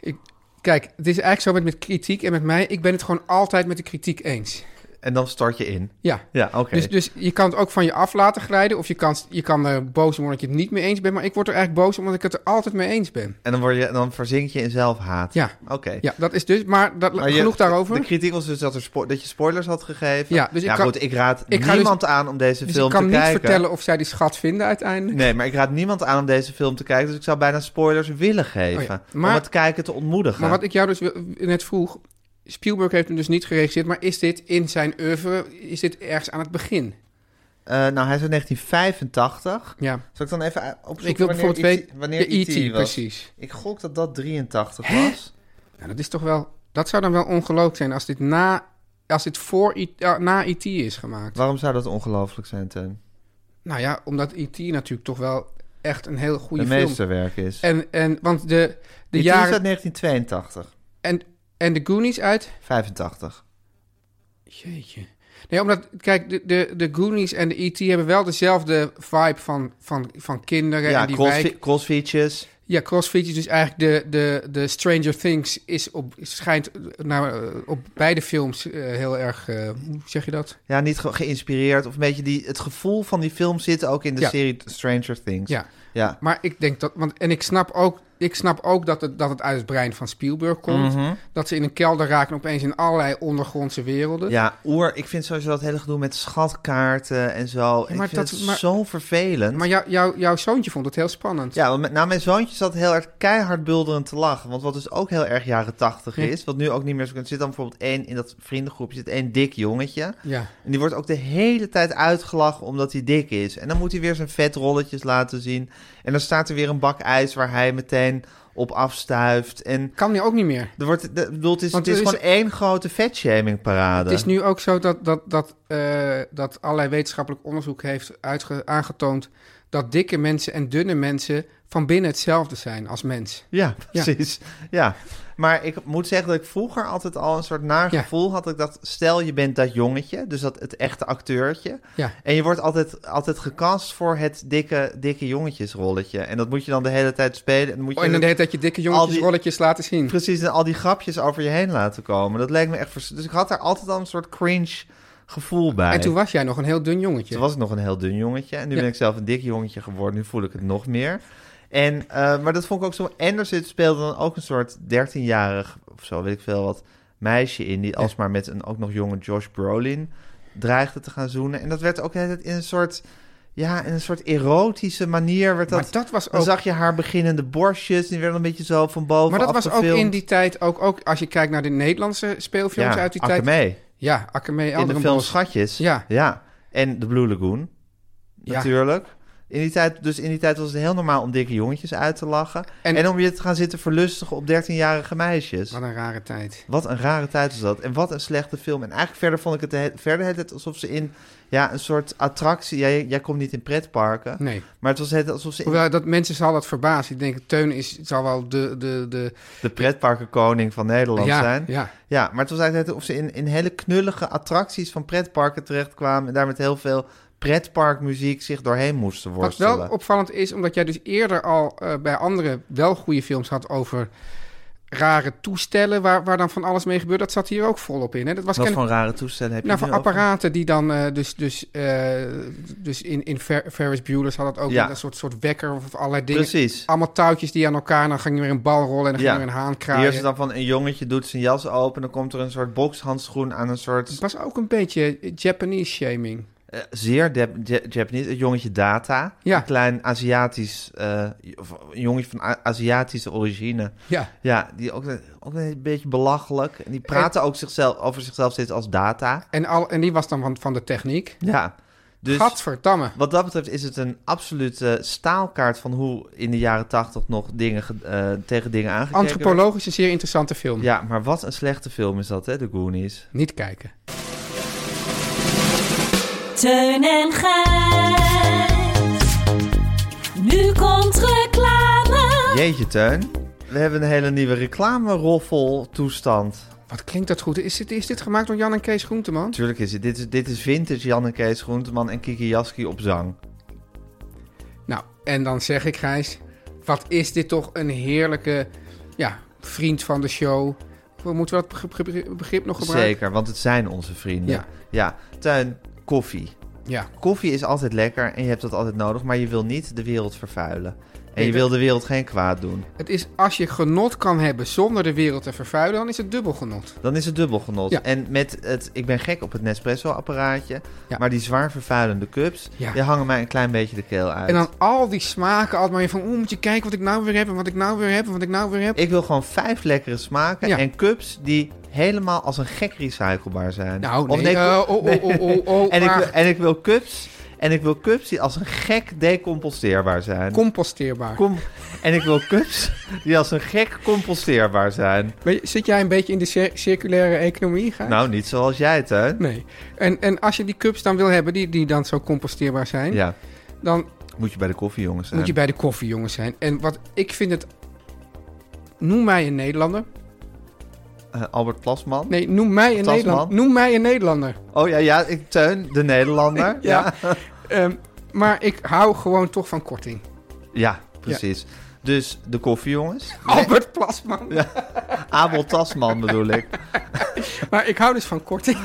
S3: Ik, kijk, het is eigenlijk zo met, met kritiek en met mij, ik ben het gewoon altijd met de kritiek eens.
S2: En dan start je in.
S3: Ja.
S2: Ja, oké.
S3: Dus, dus je kan het ook van je af laten glijden. Of je kan, je kan er boos om worden dat je het niet mee eens bent. Maar ik word er eigenlijk boos om omdat ik het er altijd mee eens ben.
S2: En dan, word je, dan verzink je in zelfhaat.
S3: Ja.
S2: Oké.
S3: Ja, dat is dus. Maar, dat,
S2: Maar je-
S3: genoeg daarover.
S2: De kritiek was dus dat, er spo- dat je spoilers had gegeven.
S3: Ja, dus ik kan-
S2: goed, ik raad
S3: ik ga dus-
S2: niemand aan om deze
S3: Dus
S2: film
S3: ik kan
S2: te
S3: niet
S2: kijken.
S3: vertellen of zij die schat vinden uiteindelijk.
S2: Nee, maar ik raad niemand aan om deze film te kijken. Dus ik zou bijna spoilers willen geven.
S3: Oh ja,
S2: Om
S3: maar-
S2: het kijken te ontmoedigen.
S3: Maar wat ik jou dus wil- net vroeg... Spielberg heeft hem dus niet geregisseerd, maar is dit in zijn oeuvre, is dit ergens aan het begin?
S2: Eh, nou, hij is uit 1985.
S3: Ja,
S2: Zal ik dan even u- opzoeken
S3: ik
S2: wanneer
S3: wil bijvoorbeeld
S2: E.T.
S3: weten...
S2: wanneer
S3: de
S2: E.T. was?
S3: precies.
S2: Ik gok dat dat 83 was.
S3: Nou, dat is toch wel... Dat zou dan wel ongelooflijk zijn als dit na... Als dit voor IT, eh, na IT is gemaakt.
S2: Waarom zou dat ongelooflijk zijn, Teun?
S3: Nou ja, omdat IT natuurlijk toch wel echt een heel goede
S2: Een
S3: film
S2: meesterwerk is.
S3: En, en want de, de
S2: E.T. E is
S3: jaren...
S2: uit 1982.
S3: En, en de Goonies uit...
S2: 85.
S3: Jeetje. Nee, omdat, kijk, de, de, de Goonies en de E.T. hebben wel dezelfde vibe van, van, van kinderen
S2: Ja,
S3: en die
S2: crossfi-
S3: wijk.
S2: crossfeatures.
S3: Ja, crossfit is dus eigenlijk de, de, de Stranger Things is op, schijnt nou, eh, op beide films eh, heel erg, eh, hoe zeg je dat?
S2: Ja, niet ge- geïnspireerd. Of een beetje die, het gevoel van die film zit ook in de
S3: Ja.
S2: serie Stranger Things.
S3: Ja.
S2: ja.
S3: Maar ik denk dat, want, en ik snap ook, ik snap ook dat, het, dat het uit het brein van Spielberg komt.
S2: Mhm.
S3: Dat ze in een kelder raken opeens in allerlei ondergrondse werelden.
S2: Ja, oer, ik vind sowieso dat hele gedoe met schatkaarten en zo.
S3: maar
S2: ik vind
S3: dat-
S2: het
S3: maar-
S2: zo vervelend.
S3: Maar jou, jou, jouw zoontje vond het heel spannend.
S2: ja, want met, nou, mijn zoontje zat heel erg keihard bulderend te lachen. Want wat dus ook heel erg jaren tachtig
S3: Ja.
S2: is, wat nu ook niet meer zo kan. Er zit dan bijvoorbeeld één in dat vriendengroepje, zit één dik jongetje.
S3: Ja.
S2: En die wordt ook de hele tijd uitgelachen omdat hij dik is. En dan moet hij weer zijn vetrolletjes laten zien. En dan staat er weer een bak ijs waar hij meteen op afstuift. En
S3: Kan nu ook niet meer.
S2: er wordt, de, ik bedoel, het is,
S3: Want
S2: het is
S3: er is-
S2: gewoon één grote vetshaming parade.
S3: Het is nu ook zo dat, dat, dat, eh, dat allerlei wetenschappelijk onderzoek heeft uitge- aangetoond dat dikke mensen en dunne mensen van binnen hetzelfde zijn als mens.
S2: Ja,
S3: Ja.
S2: precies. Ja. Maar ik moet zeggen dat ik vroeger altijd al een soort naar
S3: Ja.
S2: gevoel had. Ik dacht, stel je bent dat jongetje, dus dat het echte acteurtje.
S3: Ja.
S2: En je wordt altijd, altijd gecast voor het dikke, dikke jongetjesrolletje. En dat moet je dan de hele tijd spelen. En dan moet je
S3: Oh, en dan de hele tijd je dikke
S2: Al
S3: jongetjes
S2: die-
S3: rolletjes laten zien.
S2: precies en al die grapjes over je heen laten komen. Dat leek me echt... vers- Dus ik had daar altijd al een soort cringe gevoel bij.
S3: En toen was jij nog een heel dun jongetje.
S2: Toen was ik nog een heel dun jongetje. En nu
S3: Ja.
S2: ben ik zelf een dik jongetje geworden. Nu voel ik het nog meer. En, eh, maar dat vond ik ook zo. En er zit, speelde dan ook een soort 13-jarig of zo, weet ik veel wat, meisje in. Die alsmaar met een ook nog jonge Josh Brolin dreigde te gaan zoenen. En dat werd ook de hele tijd in een soort. Ja, in een soort erotische manier werd dat.
S3: maar dat was
S2: Dan
S3: ook,
S2: zag je haar beginnende borstjes. Die werden een beetje zo van boven
S3: maar dat was ook
S2: afgefilmd.
S3: in die tijd, ook, ook als je kijkt naar de Nederlandse speelfilms
S2: ja,
S3: uit die tijd.
S2: Akkermee.
S3: Ja, Akkermee,
S2: In de film
S3: Elderenbos.
S2: Schatjes.
S3: Ja.
S2: ja. En de Blue Lagoon.
S3: Ja.
S2: Natuurlijk. In die tijd, dus in die tijd was het heel normaal om dikke jongetjes uit te lachen. En,
S3: En-
S2: om je te gaan zitten verlustigen op 13-jarige meisjes.
S3: Wat een rare tijd.
S2: Wat een rare tijd was dat. En wat een slechte film. En eigenlijk verder vond ik het de he- verder de hele tijd alsof ze in ja, een soort attractie. Jij, jij komt niet in pretparken.
S3: Nee.
S2: Maar het was de hele tijd alsof ze in
S3: Hoewel dat mensen zal dat verbazen. Die denken, Teun is, zal wel de... de, de
S2: de pretparkenkoning van Nederland
S3: ja,
S2: zijn.
S3: ja,
S2: Ja, maar het was eigenlijk net of ze in, in hele knullige attracties van pretparken terechtkwamen. En daar met heel veel pretparkmuziek zich doorheen moesten
S3: Wat
S2: worstelen.
S3: wel opvallend is, omdat jij dus eerder al eh, bij andere wel goede films had over rare toestellen waar, waar dan van alles mee gebeurt. Dat zat hier ook volop in. Hè? Dat was
S2: Wat
S3: ken-
S2: voor rare toestellen heb
S3: nou,
S2: je
S3: van
S2: nu over?
S3: apparaten die dan eh, dus, dus, eh, dus in, in Fer- Ferris Bueller's had dat ook
S2: Ja.
S3: met een soort, soort wekker of allerlei dingen.
S2: Precies.
S3: Allemaal touwtjes die aan elkaar, en dan ging er weer een bal rollen en dan
S2: Ja.
S3: ging er weer een haan
S2: Hier is
S3: kraaien.
S2: het dan van een jongetje doet zijn jas open. Dan komt er een soort bokshandschoen aan een soort.
S3: Het was ook een beetje eh, Japanese shaming.
S2: eh, zeer Jap- Jap- Japanese, het jongetje Data.
S3: Ja.
S2: Een klein Aziatisch, eh, of een jongetje van A- Aziatische origine.
S3: Ja.
S2: Ja, die ook, ook een beetje belachelijk. En die praten ook zichzelf, over zichzelf steeds als Data.
S3: En, al, en die was dan van, van de techniek.
S2: Ja, dus...
S3: Gadverdamme.
S2: Wat dat betreft is het een absolute eh, staalkaart van hoe in de jaren tachtig nog dingen ge- eh, tegen dingen aangekeken werd.
S3: Antropologisch een zeer interessante film.
S2: Ja, maar wat een slechte film is dat, hè, de Goonies.
S3: Niet kijken.
S5: Teun en Gijs. Nu komt reclame.
S2: Jeetje, Teun. We hebben een hele nieuwe reclame-roffel toestand.
S3: Wat klinkt dat goed? Is dit, is dit gemaakt door Jan en Kees Groenteman?
S2: Natuurlijk is het. Dit is, dit is vintage Jan en Kees Groenteman en Kiki Jaski op zang.
S3: Nou, en dan zeg ik Gijs, wat is dit toch een heerlijke ja, vriend van de show. Hoe Moeten we dat begrip, begrip- begrip nog gebruiken?
S2: Zeker, want het zijn onze vrienden.
S3: Ja.
S2: ja. Teun, koffie.
S3: Ja,
S2: Koffie is altijd lekker en je hebt dat altijd nodig, maar je wil niet de wereld vervuilen. En je
S3: dat-
S2: wil de wereld geen kwaad doen.
S3: het is als je genot kan hebben zonder de wereld te vervuilen, dan is het dubbel genot.
S2: Dan is het dubbel genot.
S3: Ja.
S2: En met het, ik ben gek op het Nespresso-apparaatje,
S3: Ja.
S2: maar die zwaar vervuilende cups,
S3: Ja.
S2: die hangen mij een klein beetje de keel uit.
S3: En dan al die smaken altijd maar weer van, oeh, moet je kijken wat ik nou weer heb en wat ik nou weer heb en wat ik nou weer heb.
S2: Ik wil gewoon vijf lekkere smaken
S3: Ja.
S2: en cups die helemaal als een gek recyclebaar zijn.
S3: Nou,
S2: Of
S3: nee. eh, oh, oh, oh, oh, oh,
S2: en, ik
S3: maar
S2: wil, en ik wil cups, en ik wil cups die als een gek decomposteerbaar zijn.
S3: composteerbaar.
S2: Kom, en ik wil cups die als een gek composteerbaar zijn.
S3: Weet je, zit jij een beetje in de cir- circulaire economie, Gijs?
S2: Nou, niet zoals jij het, hè?
S3: Nee. En, en als je die cups dan wil hebben, die, die dan zo composteerbaar zijn,
S2: Ja,
S3: dan
S2: moet je bij de koffie, jongens. Zijn.
S3: moet je bij de koffiejongens zijn. En wat ik vind het... Noem mij een Nederlander.
S2: Eh, Albert Plasman.
S3: Nee, noem mij een
S2: Tasman.
S3: Nederlander. Noem mij een Nederlander.
S2: Oh ja, ja, ik, Teun, de Nederlander.
S3: Ja. Ehm, maar ik hou gewoon toch van korting.
S2: Ja, precies. Dus de koffie, jongens.
S3: Albert Plasman.
S2: Abel Tasman bedoel ik.
S3: Maar ik hou dus van korting.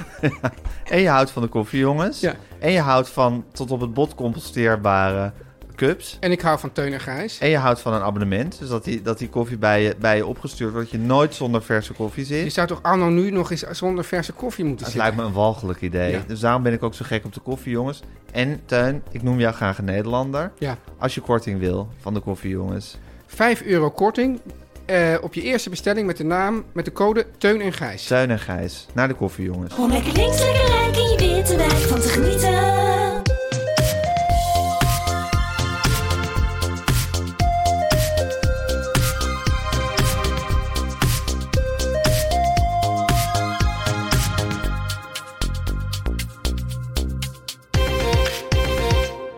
S2: En je houdt van de koffie, jongens.
S3: Ja.
S2: En je houdt van tot op het bot composteerbare cups.
S3: En ik hou van Teun en Gijs.
S2: En je houdt van een abonnement. Dus dat die, dat die koffie bij je, bij je opgestuurd wordt. Dat je nooit zonder verse koffie
S3: Je
S2: zit.
S3: zou toch anno nu nog eens zonder verse koffie moeten
S2: Dat
S3: zitten?
S2: lijkt me een walgelijk idee.
S3: Ja.
S2: Dus daarom ben ik ook zo gek op de koffie, jongens. En Teun, ik noem jou graag een Nederlander.
S3: Ja.
S2: Als je korting wil van de koffie, jongens.
S3: 5 euro korting eh, op je eerste bestelling met de naam, met de code Teun en Gijs.
S2: Teun en Gijs, naar de koffie, jongens.
S5: Om lekker links, lekker rijk in je witte wijk van te genieten.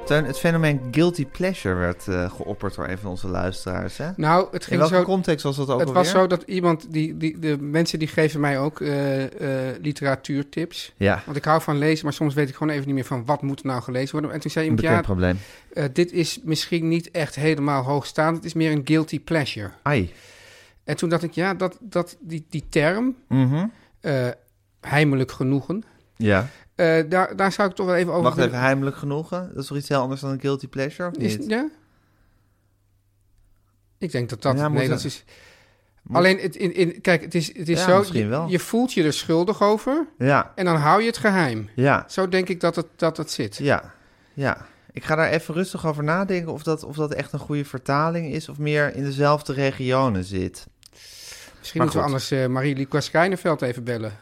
S2: Teun, het fenomeen guilty pleasure werd eh, geopperd door een van onze luisteraars, hè?
S3: Nou, het
S2: In
S3: ging
S2: welke
S3: zo.
S2: context was dat ook
S3: Het
S2: alweer?
S3: was zo dat iemand, die, die, de mensen die geven mij ook eh, eh, literatuurtips.
S2: Ja,
S3: Want ik hou van lezen, maar soms weet ik gewoon even niet meer van wat moet nou gelezen worden. En toen zei
S2: een
S3: iemand,
S2: bekend
S3: ja,
S2: probleem.
S3: eh, dit is misschien niet echt helemaal hoogstaand. Het is meer een guilty pleasure.
S2: Ai.
S3: En toen dacht ik, ja, dat, dat, die, die term,
S2: Mhm.
S3: eh, heimelijk genoegen,
S2: Ja.
S3: eh, daar, daar zou ik toch wel even over
S2: Wacht
S3: willen-
S2: even, heimelijk genoegen? Dat is toch iets heel anders dan een guilty pleasure, of
S3: Is,
S2: niet?
S3: ja? Ik denk dat dat
S2: Ja,
S3: het
S2: moet-
S3: Nederlands is.
S2: moet-
S3: Alleen, het, in, in, kijk, het is, het is
S2: Ja,
S3: zo,
S2: misschien
S3: je,
S2: wel.
S3: je voelt je er schuldig over
S2: Ja,
S3: en dan hou je het geheim.
S2: ja,
S3: Zo denk ik dat het, dat het zit.
S2: ja, ja. Ik ga daar even rustig over nadenken of dat, of dat echt een goede vertaling is... of meer in dezelfde regionen zit. Maar
S3: Misschien moeten we anders eh Marie-Lieke Schijnenveld even bellen.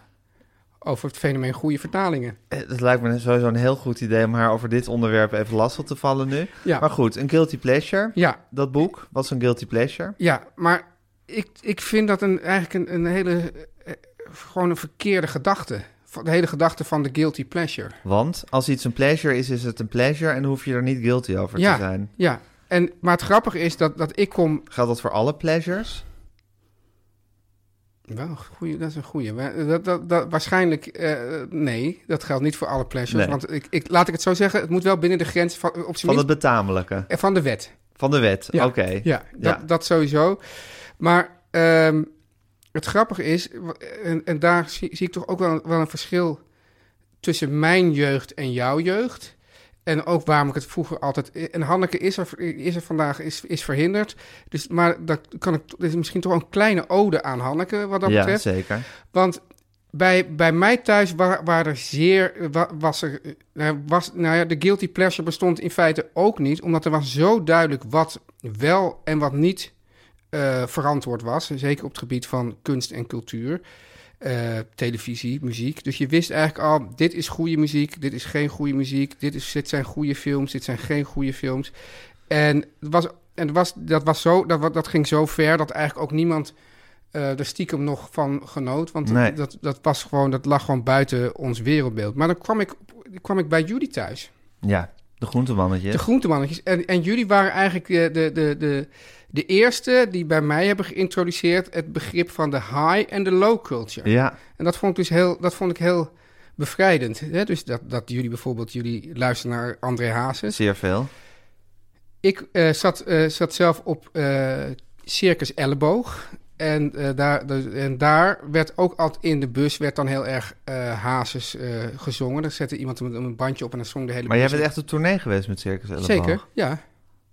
S3: Over het fenomeen goede vertalingen.
S2: Eh, Het lijkt me sowieso een heel goed idee om haar over dit onderwerp even lastig te vallen nu.
S3: Ja.
S2: Maar goed, een guilty pleasure.
S3: Ja,
S2: Dat boek was een guilty pleasure.
S3: ja maar ik, ik vind dat een, eigenlijk een, een hele... eh, gewoon een verkeerde gedachte. Van- De hele gedachte van de guilty pleasure.
S2: Want als iets een pleasure is, is het een pleasure en hoef je er niet guilty over
S3: ja,
S2: te zijn.
S3: ja. En, maar het grappige is dat, dat ik kom
S2: Geldt dat voor alle pleasures?
S3: Wel, een goeie, dat is een goeie. Maar Dat, dat, dat, waarschijnlijk, eh, nee, dat geldt niet voor alle pleasures.
S2: Nee.
S3: Want ik, ik, laat ik het zo zeggen, het moet wel binnen de grens van, op zijn
S2: Van het
S3: minst,
S2: betamelijke.
S3: eh, van de wet.
S2: Van de wet.
S3: Ja.
S2: Oké.
S3: Ja,
S2: Ja.
S3: Dat, dat sowieso. Maar ehm, het grappige is, w- en, en daar zie, zie ik toch ook wel, wel een verschil tussen mijn jeugd en jouw jeugd. En ook waarom ik het vroeger altijd... eh, En Hanneke is er, is er vandaag, is, is verhinderd. Dus, maar dat kan ik, er is misschien toch wel een kleine ode aan Hanneke wat dat
S2: ja,
S3: betreft.
S2: zeker.
S3: Want bij, bij mij thuis wa- waren er zeer, wa- was er, eh, was, nou ja, de guilty pleasure bestond in feite ook niet, omdat er was zo duidelijk wat wel en wat niet eh, verantwoord was. Zeker op het gebied van kunst en cultuur, eh, televisie, muziek. Dus je wist eigenlijk al, dit is goede muziek, dit is geen goede muziek, dit, is, dit zijn goede films, dit zijn geen goede films. En, het was, en het was, dat, was zo, dat, wa- dat ging zo ver dat eigenlijk ook niemand eh er stiekem nog van genoot. Want
S2: Nee.
S3: dat, dat, was gewoon, dat lag gewoon buiten ons wereldbeeld. Maar dan kwam ik, kwam ik bij jullie thuis.
S2: Ja, de groentemannetjes.
S3: De groentemannetjes. En, en jullie waren eigenlijk eh, de, de, de, de eerste die bij mij hebben geïntroduceerd het begrip van de high en de low culture.
S2: ja,
S3: En dat vond ik dus heel, dat vond ik heel bevrijdend. Hè? Dus dat, dat jullie bijvoorbeeld, jullie luisteren naar André Hazes.
S2: zeer veel.
S3: Ik eh, zat, eh, zat zelf op eh, Circus Elleboog. En, eh, daar, dus- en daar werd ook altijd in de bus werd dan heel erg eh Hazes eh, gezongen. Dan zette iemand een, een bandje op en dan zong de hele
S2: Maar jij
S3: bus
S2: bent echt op tournee geweest met Circus Elleboog.
S3: Zeker, ja.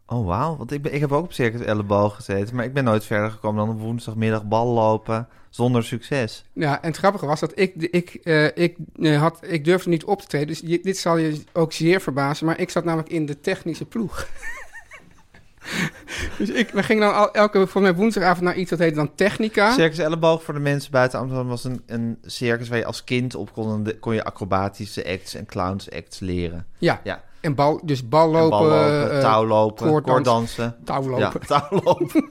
S2: Oh, wauw. Want ik, ben, ik heb ook op Circus Elleboog gezeten, maar ik ben nooit verder gekomen dan op woensdagmiddag bal lopen zonder succes.
S3: Ja, en het grappige was dat ik, ik, eh, ik, eh, had, ik durfde niet op te treden. Dus je- dit zal je ook zeer verbazen. Maar ik zat namelijk in de technische ploeg. dus ik, we gingen dan al, elke voor mij woensdagavond naar iets dat heette dan Technica.
S2: Circus Elleboog voor de mensen buiten Amsterdam was een, een circus waar je als kind op kon, en de- kon je acrobatische acts en clowns acts leren.
S3: ja.
S2: Ja.
S3: en bal, dus bal lopen,
S2: en bal lopen,
S3: eh,
S2: touwlopen,
S3: koorddans-
S2: koorddansen.
S3: touwlopen.
S2: Ja, touwlopen.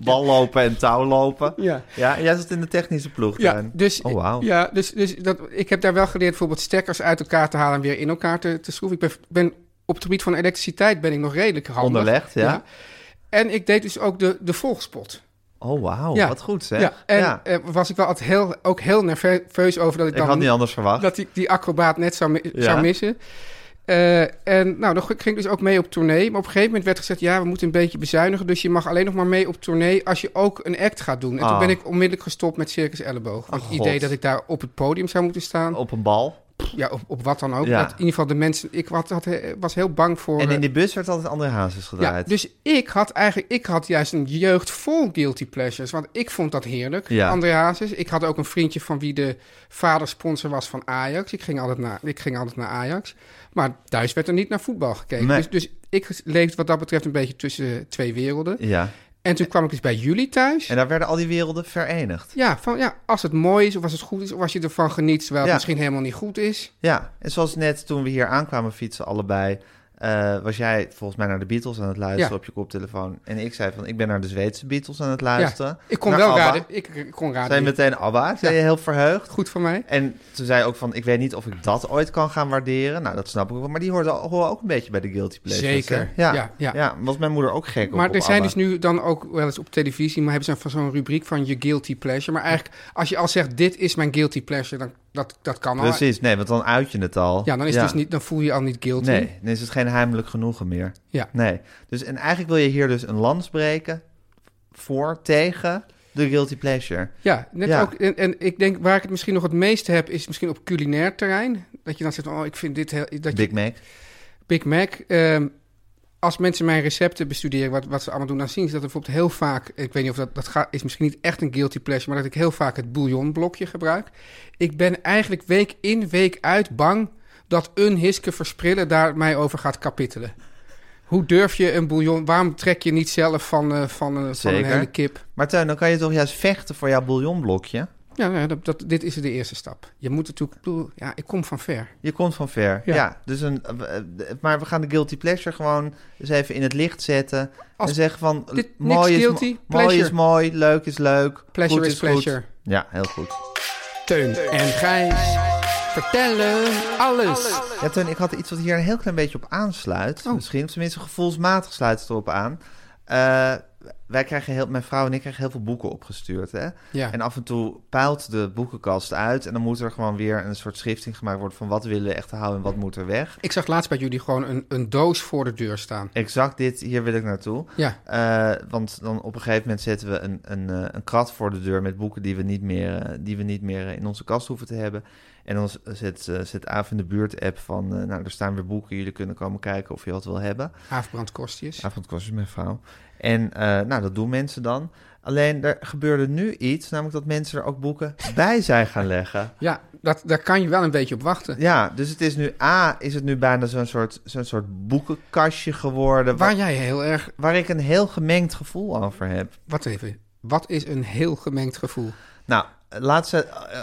S2: bal lopen en touwlopen.
S3: Ja.
S2: Ja, en jij zat in de technische ploeg.
S3: Ja,
S2: Tuin.
S3: dus,
S2: Oh, wauw.
S3: ja, dus, dus dat, ik heb daar wel geleerd bijvoorbeeld stekkers uit elkaar te halen en weer in elkaar te, te schroeven. Ik ben, ben, op het gebied van elektriciteit ben ik nog redelijk handig.
S2: Onderlegd, ja.
S3: En ik deed dus ook de, de volgspot.
S2: Oh, wauw.
S3: Ja.
S2: Wat goed, zeg.
S3: Ja, en eh, was ik wel altijd heel, ook heel nerveus over dat ik,
S2: ik
S3: dan
S2: had niet anders verwacht.
S3: dat ik die acrobaat net zou, mi-
S2: Ja.
S3: zou missen. Eh, en nou, dan ging ik dus ook mee op tournee. Maar op een gegeven moment werd gezegd: ja, we moeten een beetje bezuinigen. Dus je mag alleen nog maar mee op tournee als je ook een act gaat doen. En toen
S2: Ah.
S3: ben ik onmiddellijk gestopt met Circus Elleboog. Want
S2: Oh,
S3: het
S2: God.
S3: idee dat ik daar op het podium zou moeten staan.
S2: Op een bal.
S3: ja, op, op wat dan ook.
S2: Ja.
S3: Dat in ieder geval de mensen. Ik had, had, was heel bang voor.
S2: En
S3: eh,
S2: in die bus werd altijd André Hazes
S3: ja,
S2: gedraaid.
S3: dus ik had eigenlijk, ik had juist een jeugd vol guilty pleasures. Want ik vond dat heerlijk.
S2: Ja.
S3: André Hazes. Ik had ook een vriendje van wie de vader sponsor was van Ajax. Ik ging altijd naar, ik ging altijd naar Ajax. Maar thuis werd er niet naar voetbal gekeken.
S2: Nee.
S3: Dus, dus ik leefde wat dat betreft een beetje tussen twee werelden.
S2: ja.
S3: En toen kwam ik dus bij jullie thuis.
S2: En daar werden al die werelden verenigd.
S3: Ja, van, ja, als het mooi is of als het goed is of als je ervan geniet, terwijl het
S2: Ja.
S3: misschien helemaal niet goed is.
S2: Ja, en zoals net toen we hier aankwamen fietsen allebei... eh, was jij volgens mij naar de Beatles aan het luisteren
S3: Ja.
S2: op je koptelefoon. En ik zei van, ik ben naar de Zweedse Beatles aan het luisteren.
S3: Ik kon
S2: Naar
S3: wel
S2: ABBA.
S3: raden. Ik, ik kon raden.
S2: Zei je meteen ABBA, zei je heel verheugd.
S3: Goed van mij.
S2: En toen zei je ook van, ik weet niet of ik dat ooit kan gaan waarderen. Nou, dat snap ik wel. Maar die hoorden al- horen ook een beetje bij de guilty pleasures.
S3: Zeker,
S2: hè? Ja,
S3: ja,
S2: ja,
S3: ja.
S2: was mijn moeder ook gek op
S3: Maar
S2: op
S3: er zijn
S2: ABBA.
S3: dus nu dan ook wel eens op televisie, maar hebben ze van zo'n rubriek van je guilty pleasure. Maar eigenlijk, als je al zegt, dit is mijn guilty pleasure, dan dat, dat kan al.
S2: Precies, nee, want dan uit je het al.
S3: Ja, dan, is het dus niet, dan voel je je al niet guilty.
S2: Nee, dan is het geen heimelijk genoegen meer.
S3: Ja.
S2: Nee. Dus, en eigenlijk wil je hier dus een lans breken voor, tegen de guilty pleasure.
S3: Ja, net
S2: Ja.
S3: Ook, en, en ik denk waar ik het misschien nog het meest heb, is misschien op culinair terrein. Dat je dan zegt, oh, ik vind dit heel... Dat
S2: Big
S3: je,
S2: Mac.
S3: Big Mac. ehm, als mensen mijn recepten bestuderen, wat, wat ze allemaal doen, dan zien ze dat er bijvoorbeeld heel vaak... Ik weet niet of dat, dat ga, is misschien niet echt een guilty pleasure, maar dat ik heel vaak het bouillonblokje gebruik. Ik ben eigenlijk week in, week uit bang dat een hiske versprillen daar mij over gaat kapittelen. Hoe durf je een bouillon... Waarom trek je niet zelf van, eh, van, eh, van een
S2: Zeker.
S3: hele kip?
S2: Maar Tuin, dan kan je toch juist vechten voor jouw bouillonblokje?
S3: Ja, nou ja, dat, dat- dit is de eerste stap. Je moet natuurlijk... ik bedoel, Ja, ik kom van ver.
S2: Je komt van ver.
S3: Ja.
S2: Ja. dus een, eh, eh, maar we gaan de guilty pleasure gewoon eens even in het licht zetten.
S3: Als
S2: en zeggen van,
S3: dit
S2: eh,
S3: niks
S2: mooi, is,
S3: guilty,
S2: mo- mooi
S3: pleasure.
S2: is mooi, leuk is leuk.
S3: Pleasure
S2: goed
S3: is pleasure.
S2: Goed. Ja, heel goed.
S3: Teun en Gijs vertellen alles.
S2: Ja, Teun, ik had iets wat hier een heel klein beetje op
S3: Oh.
S2: aansluit. Misschien, tenminste gevoelsmatig sluit het erop aan. Eh, wij krijgen heel, mijn vrouw en ik krijgen heel veel boeken opgestuurd. Hè?
S3: Ja.
S2: En af en toe puilt de boekenkast uit. En dan moet er gewoon weer een soort schrifting gemaakt worden van wat willen we echt houden en wat moet er weg.
S3: Ik zag laatst bij jullie gewoon een, een doos voor de deur staan.
S2: Exact dit, hier wil ik naartoe.
S3: Ja.
S2: Eh, want dan op een gegeven moment zetten we een, een, eh, een krat voor de deur met boeken die we niet meer, eh, die we niet meer eh, in onze kast hoeven te hebben. En dan z- zet, eh, zet Aaf in de buurt app van, eh, nou, er staan weer boeken, jullie kunnen komen kijken of je wat wil hebben.
S3: Haafbrand Kostjes.
S2: Avondkost is mijn vrouw. En eh, Nou, dat doen mensen dan. Alleen er gebeurde nu iets, namelijk dat mensen er ook boeken bij zijn gaan leggen.
S3: Ja, dat, daar kan je wel een beetje op wachten.
S2: Ja, dus het is nu A, is het nu bijna zo'n soort, zo'n soort boekenkastje geworden. Waar,
S3: Waar jij heel erg...
S2: waar ik een heel gemengd gevoel over heb.
S3: Wat even. Wat is een heel gemengd gevoel?
S2: Nou, laatst eh,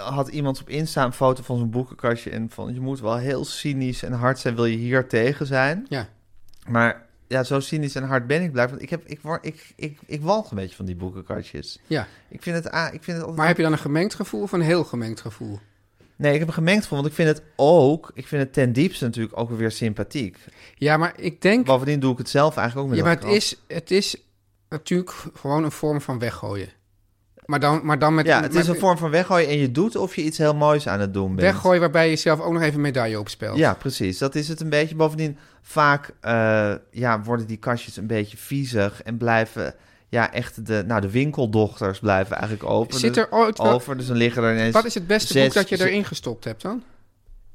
S2: had iemand op Insta een foto van zijn boekenkastje. En van je moet wel heel cynisch en hard zijn, wil je hier tegen zijn.
S3: Ja.
S2: Maar ja, zo cynisch en hard ben ik blijkbaar. Want ik, heb, ik, wor- ik, ik, ik walg een beetje van die boekenkastjes.
S3: ja.
S2: Ik vind het, ah, ik vind het altijd
S3: Maar heb je dan een gemengd gevoel of een heel gemengd gevoel?
S2: Nee, ik heb een gemengd gevoel, want ik vind het ook... Ik vind het ten diepste natuurlijk ook weer sympathiek.
S3: Ja, maar ik denk...
S2: Bovendien doe ik het zelf eigenlijk ook met
S3: Ja, maar het
S2: elke krant.
S3: is, het is natuurlijk gewoon een vorm van weggooien. Maar dan, maar dan met...
S2: Ja, het
S3: met-
S2: is een vorm van weggooien en je doet of je iets heel moois aan het doen bent.
S3: Weggooien waarbij je zelf ook nog even een medaille op speelt.
S2: Ja, precies. Dat is het een beetje. Bovendien, vaak eh, ja, worden die kastjes een beetje viezig en blijven... Ja, echt de, nou, de winkeldochters blijven eigenlijk open.
S3: Zit
S2: Dus-
S3: er ooit wel-
S2: over, dus dan liggen er ineens...
S3: Wat is het beste
S2: zes-
S3: boek dat je
S2: zes-
S3: erin gestopt hebt dan?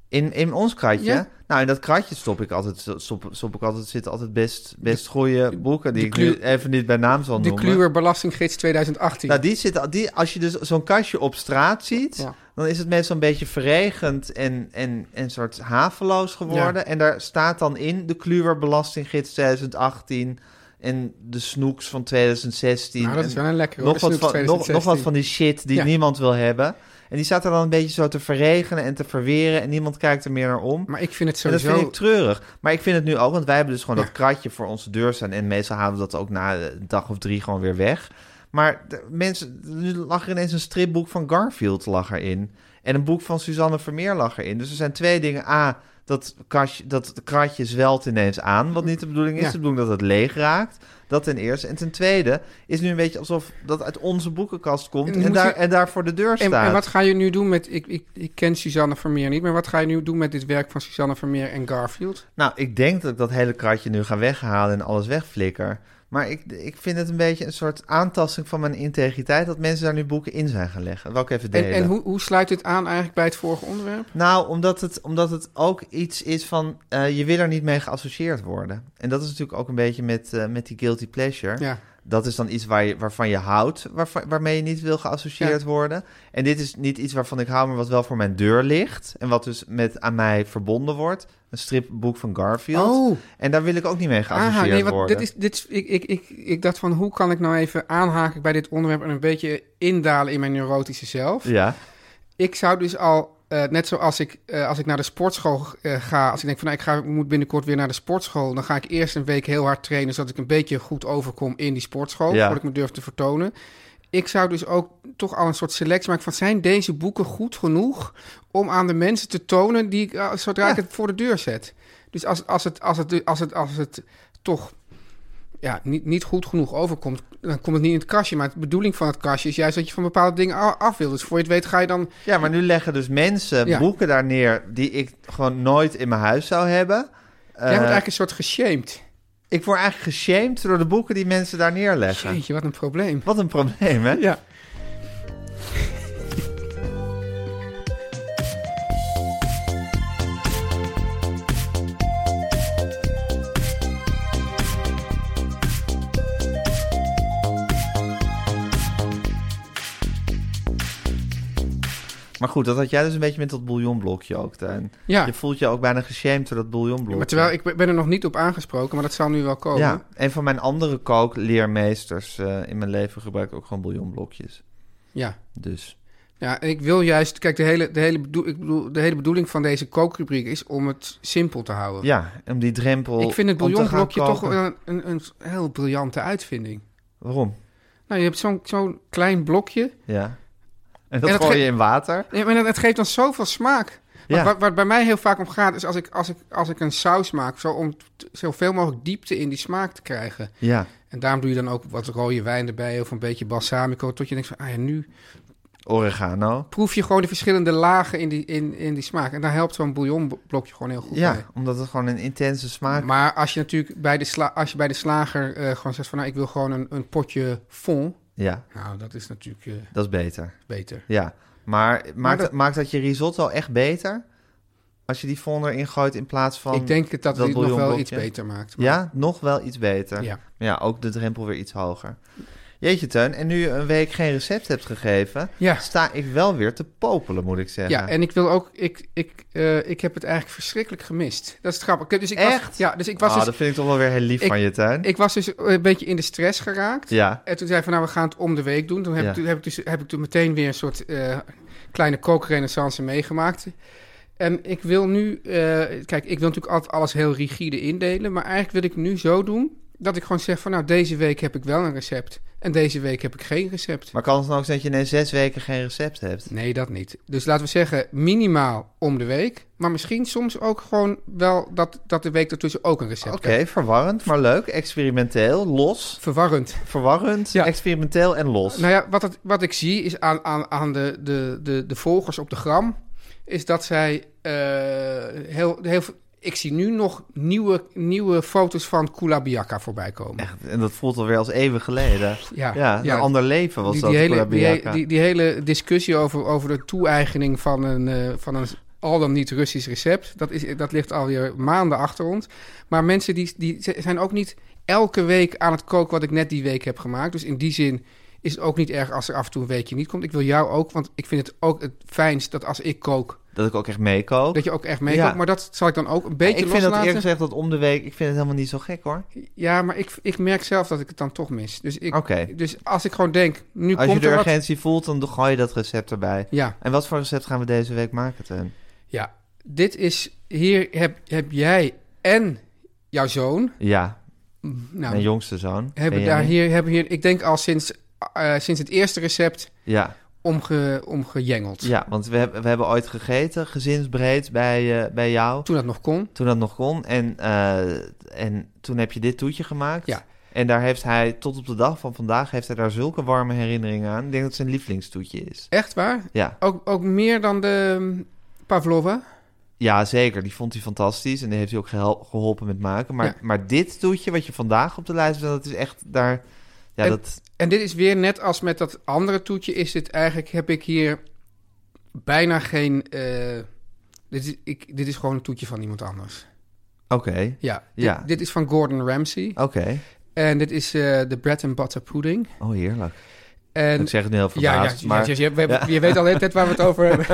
S2: In, in ons kratje?
S3: Ja.
S2: Nou, in dat kratje stop ik altijd, stop, stop ik altijd, zitten altijd best, best goede boeken... die
S3: de
S2: ik nu
S3: kleur-
S2: even niet bij naam zal
S3: De
S2: noemen.
S3: Kluwer Belastinggids 2018.
S2: Nou, die zit, die, als je dus zo'n kastje op straat ziet,
S3: Ja.
S2: dan is het meestal een beetje verregend en, en, en soort haveloos geworden. En daar staat dan in de Kluwer Belastinggids 2018 en de Snoeks van 2016.
S3: Nou, dat is
S2: en
S3: wel een lekkere,
S2: nog,
S3: hoor,
S2: wat
S3: de Snoeks
S2: van, nog, nog wat
S3: 2016.
S2: van die shit die
S3: Ja.
S2: niemand wil hebben. En die staat er dan een beetje zo te verregenen en te verweren en niemand kijkt er meer naar om.
S3: Maar ik vind het
S2: En dat
S3: sowieso...
S2: vind ik treurig. Maar ik vind het nu ook, want wij hebben dus gewoon
S3: Ja.
S2: dat kratje voor onze deur staan. En meestal halen we dat ook na een dag of drie gewoon weer weg. Maar de mensen, nu lag er ineens een stripboek van Garfield lag erin. En een boek van Suzanne Vermeer lag erin. Dus er zijn twee dingen. A, dat, kastje, dat kratje zwelt ineens aan. Wat niet de bedoeling is.
S3: Ja.
S2: De bedoeling dat het leeg raakt. Dat ten eerste. En ten tweede is nu een beetje alsof dat uit onze boekenkast komt.
S3: En
S2: En,
S3: moet
S2: daar,
S3: je-
S2: en daar voor de deur
S3: En,
S2: staat.
S3: en wat ga je nu doen met... Ik, ik, ik ken Suzanne Vermeer niet, maar wat ga je nu doen met dit werk van Suzanne Vermeer en Garfield?
S2: Nou, ik denk dat ik dat hele kratje nu ga weghalen en alles wegflikker. Maar ik, ik vind het een beetje een soort aantasting van mijn integriteit... dat mensen daar nu boeken in zijn gaan leggen. Dat wil ik even delen.
S3: En, en hoe, hoe sluit dit aan eigenlijk bij het vorige onderwerp?
S2: Nou, omdat het, omdat het ook iets is van... eh, je wil er niet mee geassocieerd worden. En dat is natuurlijk ook een beetje met, eh, met die guilty pleasure.
S3: Ja.
S2: Dat is dan iets waar je, waarvan je houdt, waarvan, waarmee je niet wil geassocieerd
S3: Ja.
S2: worden. En dit is niet iets waarvan ik hou, maar wat wel voor mijn deur ligt. En wat dus met aan mij verbonden wordt. Een stripboek van Garfield.
S3: Oh.
S2: En daar wil ik ook niet mee geassocieerd
S3: Ah, nee, want
S2: worden.
S3: dit is, dit is, ik, ik, ik, ik dacht van hoe kan ik nou even aanhaken bij dit onderwerp en een beetje indalen in mijn neurotische zelf.
S2: Ja,
S3: Ik zou dus al, eh, net zoals ik, eh, als ik naar de sportschool eh, ga, als ik denk van nou, ik, ga, ik moet binnenkort weer naar de sportschool, dan ga ik eerst een week heel hard trainen zodat ik een beetje goed overkom in die sportschool,
S2: Ja.
S3: voordat ik me durf te vertonen. Ik zou dus ook toch al een soort selectie maken van zijn deze boeken goed genoeg om aan de mensen te tonen die ik eh, zodra ik het voor de deur zet. Dus als, als, het, als, het, als, het, als het toch ja, niet, niet goed genoeg overkomt, dan komt het niet in het kastje. Maar de bedoeling van het kastje is juist dat je van bepaalde dingen a- af wil. Dus voor je het weet ga je dan
S2: ja maar nu leggen dus mensen
S3: Ja.
S2: boeken daar neer die ik gewoon nooit in mijn huis zou hebben. Eh,
S3: Jij wordt eigenlijk een soort geshamed.
S2: Ik word eigenlijk geshamed door de boeken die mensen daar neerleggen.
S3: Jeetje, wat een probleem.
S2: Wat een probleem, hè?
S3: Ja.
S2: Maar goed, dat had jij dus een beetje met dat bouillonblokje ook, Tuin.
S3: Ja.
S2: Je voelt je ook bijna geshamed door dat bouillonblokje.
S3: Maar terwijl ik ben er nog niet op aangesproken, maar dat zal nu wel komen.
S2: Ja, een van mijn andere kookleermeesters eh, in mijn leven gebruikt ook gewoon bouillonblokjes.
S3: Ja.
S2: Dus
S3: Ja, en ik wil juist, kijk, de hele, de hele, bedoel, ik bedoel, de hele bedoeling van deze kookrubriek is om het simpel te houden.
S2: ja, om die drempel...
S3: ik vind het
S2: om te gaan
S3: bouillonblokje toch
S2: koken.
S3: wel een, een, een heel briljante uitvinding.
S2: Waarom?
S3: Nou, je hebt zo'n zo'n klein blokje.
S2: Ja. En dat,
S3: dat
S2: gooi
S3: ge-
S2: je in water.
S3: Ja, maar het geeft dan zoveel smaak.
S2: Ja.
S3: Ja. Waar, waar het bij mij heel vaak om gaat, is als ik, als ik, als ik een saus maak, zo om t- zoveel mogelijk diepte in die smaak te krijgen.
S2: Ja.
S3: En daarom doe je dan ook wat rode wijn erbij of een beetje balsamico. Tot je denkt van, ah ja, nu
S2: Oregano.
S3: proef je gewoon de verschillende lagen in die, in, in die smaak. En daar helpt zo'n bouillonblokje gewoon heel goed
S2: Ja,
S3: bij.
S2: omdat het gewoon een intense smaak...
S3: Maar als je natuurlijk bij de, sla, als je bij de slager eh, gewoon zegt van... nou, ik wil gewoon een, een potje fond.
S2: Ja,
S3: Nou, dat is natuurlijk eh,
S2: dat is beter.
S3: beter.
S2: Ja. Maar maakt,
S3: dat-
S2: maakt dat je risotto echt beter? Als je die fonder ingooit in plaats van...
S3: ik denk dat dat,
S2: dat
S3: dit nog wel
S2: bouillonblokje.
S3: iets beter maakt. maar-
S2: Ja, nog wel iets beter.
S3: Ja.
S2: Maar ja, ook de drempel weer iets hoger. Jeetje, Teun. En nu je een week geen recept hebt gegeven...
S3: Ja.
S2: sta ik wel weer te popelen, moet ik zeggen.
S3: Ja, en ik wil ook, ik, ik, eh, ik heb het eigenlijk verschrikkelijk gemist. Dat is grappig. Ik- Dus ik Was,
S2: Echt?
S3: ja, dus ik was,
S2: Ah,
S3: dus,
S2: dat vind ik toch wel weer heel lief
S3: Ik-
S2: van je, Teun.
S3: ik was dus een beetje in de stress geraakt.
S2: Ja.
S3: En toen zei ik van, nou, we gaan het om de week doen. Toen heb,
S2: Ja.
S3: ik, toen heb, ik, dus, heb ik toen meteen weer een soort eh, kleine kookrenaissance meegemaakt. En ik wil nu, eh, kijk, ik wil natuurlijk altijd alles heel rigide indelen. Maar eigenlijk wil ik nu zo doen dat ik gewoon zeg van, nou, deze week heb ik wel een recept. En deze week heb ik geen recept.
S2: Maar kan het dan ook zijn dat je in zes weken geen recept hebt?
S3: Nee, dat niet. Dus laten we zeggen minimaal om de week. Maar misschien soms ook gewoon wel dat, dat de week ertussen ook een recept
S2: Oké,
S3: hebt.
S2: verwarrend, maar leuk. Experimenteel, los.
S3: Verwarrend.
S2: Verwarrend,
S3: Ja.
S2: experimenteel en los.
S3: Nou ja, wat, het, wat ik zie is aan, aan, aan de, de, de, de volgers op de gram... is dat zij eh, heel, heel... veel- Ik zie nu nog nieuwe, nieuwe foto's van Kula Biaka voorbij komen.
S2: En dat voelt alweer als eeuwen geleden.
S3: Ja,
S2: Ja, een ander leven was
S3: die,
S2: dat.
S3: die, hele, die,
S2: Korabiaka.
S3: he- die, die hele discussie over, over de toe-eigening van een, eh, van een al dan niet Russisch recept, dat, is, dat ligt alweer maanden achter ons. Maar mensen die, die z- zijn ook niet elke week aan het koken wat ik net die week heb gemaakt. Dus in die zin is het ook niet erg als er af en toe een weekje niet komt. Ik wil jou ook, want ik vind het ook het fijnst dat als ik kook,
S2: Dat ik ook echt meekoop.
S3: dat je ook echt meekookt.
S2: Ja.
S3: Maar dat zal ik dan ook een beetje
S2: ik vind dat
S3: loslaten.
S2: eerlijk gezegd dat om de week... Ik vind het helemaal niet zo gek, hoor.
S3: Ja, maar ik, ik merk zelf dat ik het dan toch mis. Dus, ik,
S2: Oké.
S3: dus als ik gewoon denk, nu
S2: Als je
S3: komt
S2: de
S3: er wat.
S2: urgentie voelt, dan gooi je dat recept erbij.
S3: Ja,
S2: En wat voor recept gaan we deze week maken, Teun?
S3: Ja, dit is. Hier heb, heb jij en jouw zoon.
S2: Ja,
S3: Nou,
S2: mijn jongste zoon.
S3: hebben
S2: Benjamin.
S3: daar hier, hebben hier, ik denk al sinds, eh, sinds het eerste recept
S2: Ja,
S3: omge, omgejengeld.
S2: ja want we, hebben- we hebben ooit gegeten, gezinsbreed, bij, eh, bij jou.
S3: Toen dat nog kon.
S2: Toen dat nog kon. En, eh, en toen heb je dit toetje gemaakt.
S3: Ja.
S2: En daar heeft hij, tot op de dag van vandaag, heeft hij daar zulke warme herinneringen aan. Ik denk dat het zijn lievelingstoetje is.
S3: Echt waar?
S2: Ja,
S3: Ook, ook meer dan de mm, Pavlova?
S2: ja zeker. Die vond hij fantastisch. En die heeft hij ook gehel- geholpen met maken. Maar,
S3: Ja.
S2: maar dit toetje, wat je vandaag op de lijst hebt, dat is echt daar... Ja,
S3: En-
S2: dat...
S3: En dit is weer net als met dat andere toetje. Is dit eigenlijk, heb ik hier bijna geen... eh, dit, is, ik, dit is gewoon een toetje van iemand anders.
S2: Oké,
S3: Ja. Dit,
S2: Ja. Oh.
S3: dit is van Gordon Ramsay.
S2: oké.
S3: En dit is eh, de bread and butter pudding.
S2: Oh, heerlijk.
S3: En
S2: Ik zeg het nu heel
S3: Ja, ja,
S2: verbaasd,
S3: ja,
S2: maar
S3: ja, je, we- je weet al de hele tijd waar we het over hebben.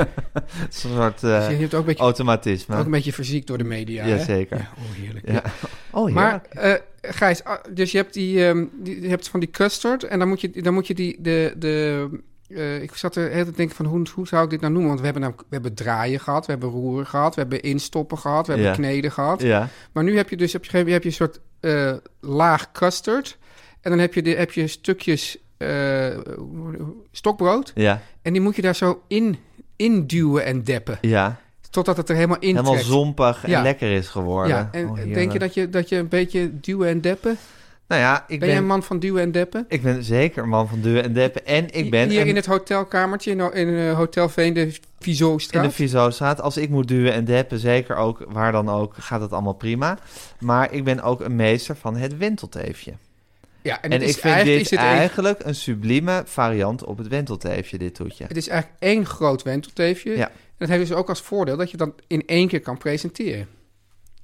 S2: het is een soort
S3: Dus
S2: eh,
S3: je hebt ook een beetje,
S2: automatisme.
S3: ook een beetje verziekt door de media. hè?
S2: Jazeker.
S3: Ja, oh, heerlijk.
S2: Ja. Oh, heerlijk.
S3: Maar eh, Gijs, ah, dus je hebt, die, ehm, die, je hebt van die custard en dan moet je, dan moet je die... De, de, eh, ik zat er de hele tijd te denken van hoe, hoe zou ik dit nou noemen? Want we hebben, namelijk- we hebben draaien gehad, we hebben roeren gehad, we hebben instoppen gehad, we hebben
S2: Ja.
S3: kneden gehad.
S2: ja,
S3: Maar nu heb je dus op je gegeven moment heb je een soort eh, laag custard en dan heb je, de, heb je stukjes eh, stokbrood.
S2: ja,
S3: En die moet je daar zo in, induwen en deppen.
S2: ja.
S3: Totdat het er helemaal in
S2: Helemaal
S3: trekt.
S2: zompig en
S3: Ja.
S2: lekker is geworden.
S3: Ja, en
S2: Oh,
S3: denk je
S2: heerlijk.
S3: dat, je dat je een beetje duwen en deppen?
S2: Nou ja, ik
S3: ben jij
S2: ben,
S3: een man van duwen en deppen?
S2: ik ben zeker een man van duwen en deppen. En ik ben
S3: Hier
S2: een-
S3: in het hotelkamertje, in, in eh, Hotel Veen, de
S2: in de
S3: Vizostraat.
S2: Vizostraat. Als ik moet duwen en deppen, zeker ook waar dan ook, gaat het allemaal prima. Maar ik ben ook een meester van het wentelteefje.
S3: ja,
S2: En,
S3: en, het is
S2: ik vind
S3: eigenlijk,
S2: dit
S3: is dit één-
S2: eigenlijk een sublieme variant op het wentelteefje, dit toetje.
S3: het is eigenlijk één groot wentelteefje.
S2: Ja.
S3: En dat heeft dus ook als voordeel dat je dat in één keer kan presenteren.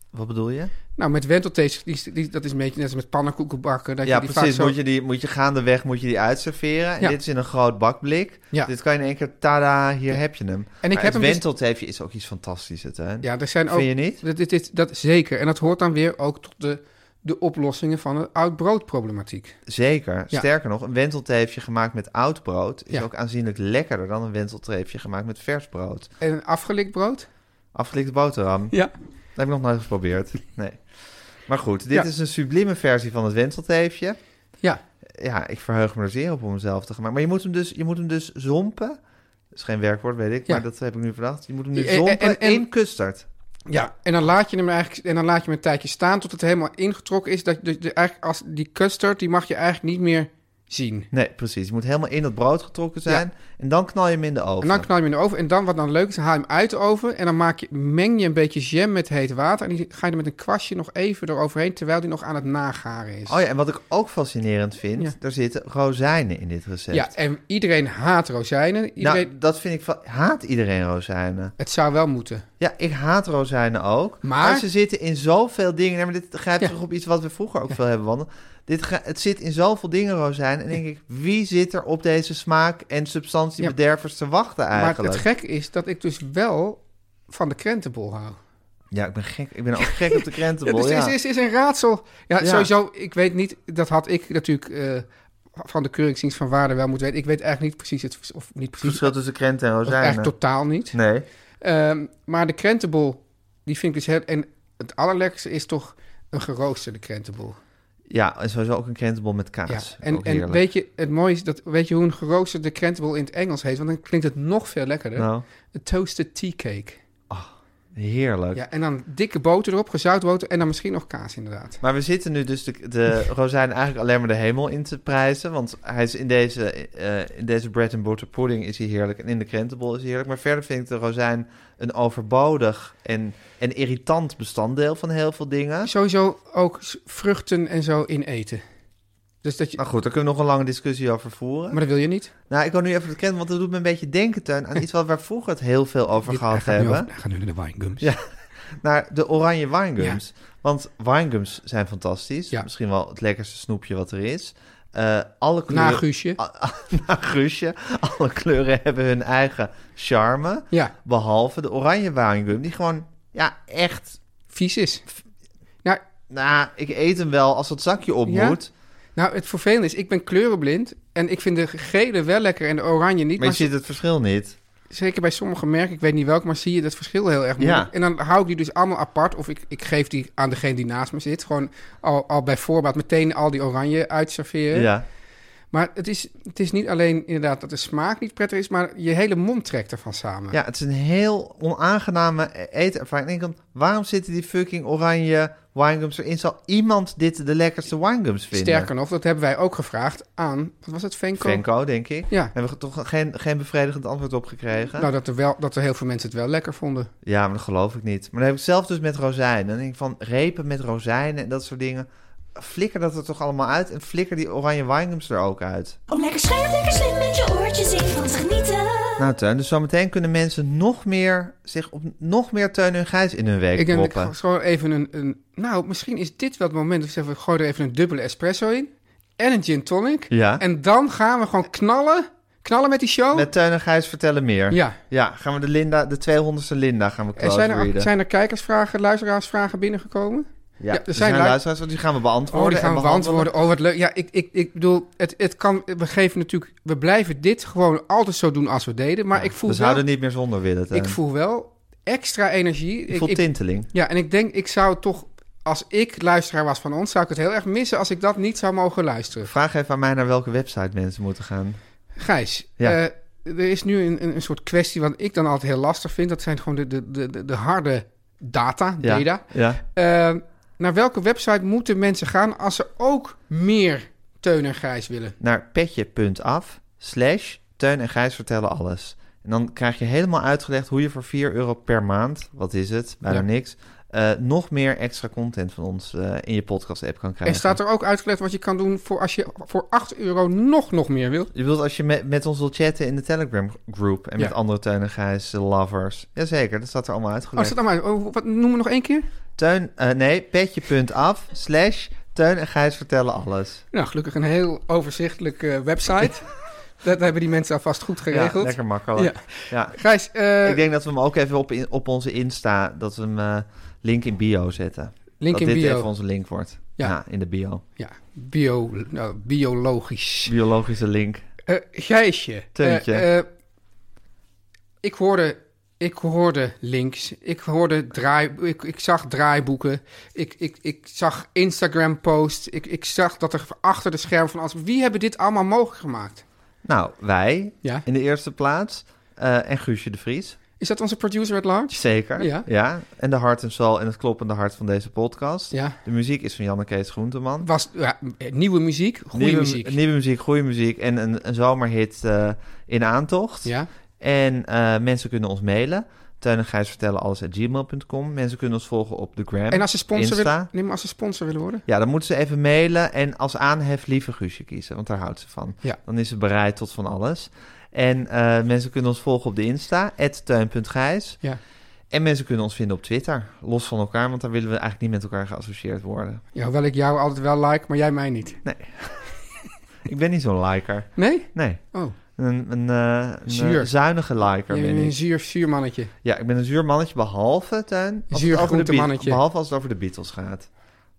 S2: Wat bedoel je?
S3: Nou, met wentelteefjes, die, die- dat is een beetje net als met pannenkoeken bakken. Dat
S2: ja,
S3: je die
S2: precies.
S3: Vaak zo,
S2: Moet, je die, moet je gaandeweg moet je die uitserveren. En
S3: Ja.
S2: dit is in een groot bakblik.
S3: Ja.
S2: Dit kan je in één keer, tada, hier heb je hem.
S3: En ik
S2: Maar het
S3: heb hem dus-
S2: wentelteefje is ook iets fantastisch, het, hè?
S3: Ja, er zijn ook...
S2: Vind je niet?
S3: Dat, dit, dit- dat, zeker. En dat hoort dan weer ook tot de, de oplossingen van de oud broodproblematiek.
S2: Zeker.
S3: Ja.
S2: Sterker nog, een wentelteefje gemaakt met oud brood... is
S3: Ja.
S2: ook aanzienlijk lekkerder dan een wentelteefje gemaakt met vers brood.
S3: En een afgelikt brood?
S2: Afgelikte boterham.
S3: Ja.
S2: Dat heb ik nog nooit geprobeerd. Nee. Maar goed, dit
S3: Ja.
S2: is een sublieme versie van het wentelteefje.
S3: Ja.
S2: Ja, ik verheug me er zeer op om hem zelf te maken. Maar je moet hem dus, je moet hem dus zompen. Dat is geen werkwoord, weet ik,
S3: Ja.
S2: maar dat heb ik nu verdacht. Je moet hem nu
S3: En- en-
S2: zompen
S3: en- en-
S2: in custard.
S3: Ja. En dan laat je hem eigenlijk en dan laat je hem een tijdje staan tot het helemaal ingetrokken is. Dat, je- de, de, eigenlijk als, die custard, die mag je eigenlijk niet meer zien.
S2: Nee, precies. Je moet helemaal in dat brood getrokken zijn. En dan knal je hem in de oven.
S3: En dan knal je hem in de oven. En dan wat dan leuk is, haal je hem uit de oven. En dan maak je, meng je een beetje jam met heet water. En die ga je er met een kwastje nog even eroverheen, terwijl die nog aan het nagaren is.
S2: Oh ja, en wat ik ook fascinerend vind,
S3: Ja.
S2: er zitten rozijnen in dit recept.
S3: Ja, en iedereen haat rozijnen. Iedereen,
S2: Nou, dat vind ik van... Haat iedereen rozijnen?
S3: Het zou wel moeten.
S2: Ja, ik haat rozijnen ook.
S3: Maar-
S2: ze zitten in zoveel dingen. Nee, maar dit grijpt
S3: Ja.
S2: terug op iets wat we vroeger ook veel hebben behandeld. Dit ga- het zit in zoveel dingen, rozijnen. En denk ik, wie zit er op deze smaak- en substantiebedervers te wachten
S3: Maar
S2: eigenlijk?
S3: het gekke is dat ik dus wel van de krentenbol hou.
S2: Ja, ik ben gek. Ik ben ook gek op de
S3: Ja,
S2: krentenbol,
S3: dus
S2: ja.
S3: het is, is, is een raadsel. Ja,
S2: Ja.
S3: sowieso, ik weet niet, dat had ik natuurlijk eh, van de keuringsdienst van waarde wel moeten weten. Ik weet eigenlijk niet precies het, vers- of niet
S2: Het
S3: precies,
S2: verschil tussen krenten en
S3: of
S2: rozijnen.
S3: eigenlijk totaal niet.
S2: Nee.
S3: Ehm, maar de krentenbol, die vind ik dus heel... En het allerlekkerste is toch een geroosterde krentenbol.
S2: Ja, en sowieso ook een krentenbol met kaas.
S3: Ja, en,
S2: Ook
S3: en
S2: heerlijk.
S3: weet je, het mooie is dat, weet je hoe een geroosterde krentenbol in het Engels heet? Want dan klinkt het nog veel lekkerder.
S2: Nou,
S3: Een toasted tea cake.
S2: heerlijk.
S3: Ja, en dan dikke boter erop, gezout boter en dan misschien nog kaas inderdaad.
S2: Maar we zitten nu dus de, de rozijn eigenlijk alleen maar de hemel in te prijzen. Want hij is in deze, eh, in deze bread and butter pudding is hij heerlijk. En in de krentenbol is hij heerlijk. Maar verder vind ik de rozijn een overbodig en, en irritant bestanddeel van heel veel dingen.
S3: Sowieso ook s- vruchten en zo in eten. Dus dat je,
S2: Nou goed, daar kunnen we nog een lange discussie over voeren.
S3: maar dat wil je niet.
S2: Nou, ik wil nu even de krentenbol, want dat doet me een beetje denken, Teun, aan iets wat we vroeger het heel veel over
S3: Dit-
S2: gehad
S3: hij gaat nu
S2: hebben.
S3: over- hij gaat nu naar de winegums.
S2: Ja. Naar de oranje winegums. Want winegums zijn fantastisch.
S3: Ja.
S2: Misschien wel het lekkerste snoepje wat er is. Eh, alle kleuren...
S3: Na Guusje.
S2: A- na Guusje. Alle kleuren hebben hun eigen charme.
S3: Ja,
S2: Behalve de oranje winegum, die gewoon, ja, echt...
S3: vies is. Nou,
S2: Nou, ik eet hem wel als dat zakje op
S3: Ja?
S2: moet.
S3: nou, het vervelende is, ik ben kleurenblind en ik vind de gele wel lekker en de oranje niet.
S2: Maar je
S3: Maar
S2: ziet het verschil niet.
S3: zeker bij sommige merken, ik weet niet welk, maar zie je dat verschil heel erg moeilijk.
S2: Ja.
S3: En dan hou ik die dus allemaal apart of ik, ik geef die aan degene die naast me zit. Gewoon al, al bij voorbaat meteen al die oranje uitserveren.
S2: Ja.
S3: Maar het is, het is niet alleen inderdaad dat de smaak niet prettig is, maar je hele mond trekt ervan samen.
S2: ja, het is een heel onaangename e-, eetervaring. Ik denk dan, waarom zitten die fucking oranje winegums erin? Zal iemand dit de lekkerste winegums vinden?
S3: Sterker nog, dat hebben wij ook gevraagd aan, wat was het, Venko?
S2: Venko, denk ik.
S3: Ja.
S2: Hebben we toch geen, geen bevredigend antwoord op gekregen?
S3: Nou, dat er, wel, dat er heel veel mensen het wel lekker vonden.
S2: Ja, maar dat geloof ik niet. Maar dan heb ik zelf dus met rozijnen. Dan denk ik van repen met rozijnen en dat soort dingen. Flikker dat er toch allemaal uit en flikker die oranje winegums er ook uit.
S5: Om lekker scherp, lekker slim met je oortjes in van te genieten.
S2: Nou Teun, dus zometeen kunnen mensen nog meer zich op nog meer Teun en Gijs in hun week
S3: ik denk dat ik
S2: proppen.
S3: gewoon even een, een... Nou, misschien is dit wel het moment dat ik zeg, we gooien er even een dubbele espresso in. En een gin tonic.
S2: Ja.
S3: En dan gaan we gewoon knallen. Knallen met die show.
S2: Met Teun en Gijs vertellen meer.
S3: Ja.
S2: Ja, gaan we de Linda, de 200ste Linda gaan we
S3: En
S2: close
S3: zijn
S2: readen.
S3: er, zijn er kijkersvragen, luisteraarsvragen binnengekomen?
S2: ja, er zijn,
S3: lu-
S2: luisteraars, want die gaan we beantwoorden.
S3: Oh, die
S2: en
S3: gaan we
S2: behandelen.
S3: beantwoorden. Oh, wat leuk. Ja, ik, ik, ik bedoel, het, het kan, we geven natuurlijk, we blijven dit gewoon altijd zo doen als we deden. Oh, Maar ik voel
S2: We
S3: wel,
S2: zouden niet meer zonder willen, Teun.
S3: ik voel wel extra energie.
S2: Ik
S3: Ik,
S2: voel
S3: ik-
S2: tinteling.
S3: ja, en ik denk, ik zou het toch, als ik luisteraar was van ons, zou ik het heel erg missen als ik dat niet zou mogen luisteren.
S2: Vraag even aan mij naar welke website mensen moeten gaan.
S3: Gijs,
S2: Ja.
S3: eh, er is nu een, een, een soort kwestie wat ik dan altijd heel lastig vind. Dat zijn gewoon de, de, de, de, de harde data,
S2: Ja.
S3: data.
S2: Ja.
S3: Eh, naar welke website moeten mensen gaan als ze ook meer Teun en Gijs willen?
S2: naar petje.af slash Teun en Gijs vertellen alles. En dan krijg je helemaal uitgelegd hoe je voor 4 euro per maand, wat is het, bijna
S3: Ja.
S2: niks, eh, nog meer extra content van ons eh, in je podcast-app kan
S3: En
S2: krijgen.
S3: staat er ook uitgelegd wat je kan doen voor als je voor 8 euro nog, nog meer Oh, wilt?
S2: Je bedoelt als je met, met ons wil chatten in de Telegram-groep en
S3: Ja.
S2: met andere Teun en Gijs eh, lovers. Jazeker, dat staat er allemaal
S3: Oh, is
S2: uitgelegd.
S3: dat nou maar? Oh, wat noemen we nog één keer?
S2: Teun, eh, nee, petje.af slash Teun en Gijs vertellen alles.
S3: Nou, gelukkig een heel overzichtelijke eh, website. Dat hebben die mensen alvast goed
S2: Ja,
S3: geregeld.
S2: lekker makkelijk.
S3: Ja.
S2: Ja.
S3: Gijs, eh,
S2: Ik denk dat we hem ook even op, in- op onze Insta, dat we hem eh, link in bio zetten.
S3: link
S2: dat
S3: in
S2: dit
S3: bio.
S2: even onze link wordt. Ja.
S3: Ja.
S2: in de bio.
S3: Ja, bio, nou, biologisch.
S2: Biologische link.
S3: Eh Gijsje.
S2: Teuntje.
S3: eh, eh, ik, hoorde, ik hoorde links. Ik hoorde draai... Ik, ik zag draaiboeken. Ik, ik, ik zag Instagram-posts. Ik, ik zag dat er achter de schermen van alles... Wie hebben dit allemaal mogelijk gemaakt?
S2: Nou, wij
S3: Ja.
S2: in de eerste plaats. eh, en Guusje de Vries.
S3: Is dat onze producer at large?
S2: Zeker.
S3: Ja.
S2: En de hart en zal en het kloppende hart van deze podcast.
S3: Ja.
S2: De muziek is van Janne Kees Groenteman.
S3: Was ja, eh, nieuwe muziek, goede
S2: nieuwe,
S3: muziek.
S2: Nieuwe muziek, goede muziek. En een, een zomerhit eh, in aantocht.
S3: Ja.
S2: En eh, mensen kunnen ons mailen. Teun en Gijs vertellen alles at gmail.com. Mensen kunnen ons volgen op de gram.
S3: En als ze sponsor,
S2: Insta.
S3: willen, nee, maar als ze sponsor willen worden?
S2: Ja, dan moeten ze even mailen en als aanhef lieve Guusje kiezen, want daar houdt ze van.
S3: Ja.
S2: Dan is ze bereid tot van alles. En eh, mensen kunnen ons volgen op de Insta, teun.gijs.
S3: Ja.
S2: En mensen kunnen ons vinden op Twitter, los van elkaar, want daar willen we eigenlijk niet met elkaar geassocieerd worden.
S3: Ja, hoewel ik jou altijd wel like, maar jij mij niet.
S2: Ik ben niet zo'n liker.
S3: Nee?
S2: Nee,
S3: Oh,
S2: een, een, eh, een
S3: Zuur.
S2: eh, zuige liker
S3: je
S2: ben
S3: bent
S2: ik.
S3: een zuur, zuur mannetje.
S2: Ja, ik ben een zuur mannetje, behalve tuin.
S3: Zuur
S2: over de
S3: groente
S2: Beat-
S3: mannetje.
S2: Behalve als het over de Beatles gaat.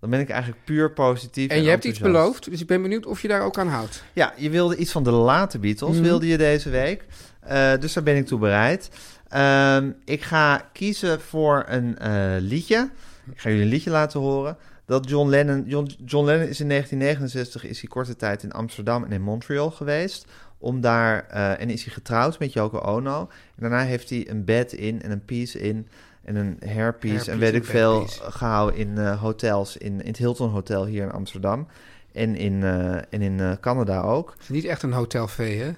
S2: Dan ben ik eigenlijk puur positief. En,
S3: En je hebt iets
S2: enthousiast.
S3: beloofd, dus ik ben benieuwd of je daar ook aan houdt.
S2: Ja, je wilde iets van de late Beatles,
S3: Mhm.
S2: wilde je deze week. Eh, dus daar ben ik toe bereid. Ehm, ik ga kiezen voor een eh, liedje. Ik ga jullie een liedje laten horen. Dat John Lennon. John, John Lennon is in 1969 is hij korte tijd in Amsterdam en in Montreal geweest. Om daar, eh, en is hij getrouwd met Yoko Ono. En daarna heeft hij een bed in en een piece in en een hairpiece
S3: Hairpiece
S2: en weet
S3: en
S2: ik veel
S3: bedpiece.
S2: gehouden in eh, hotels. In, in het Hilton Hotel hier in Amsterdam. En in, eh, en in eh, Canada ook.
S3: Het is niet echt een hotelvee, hè?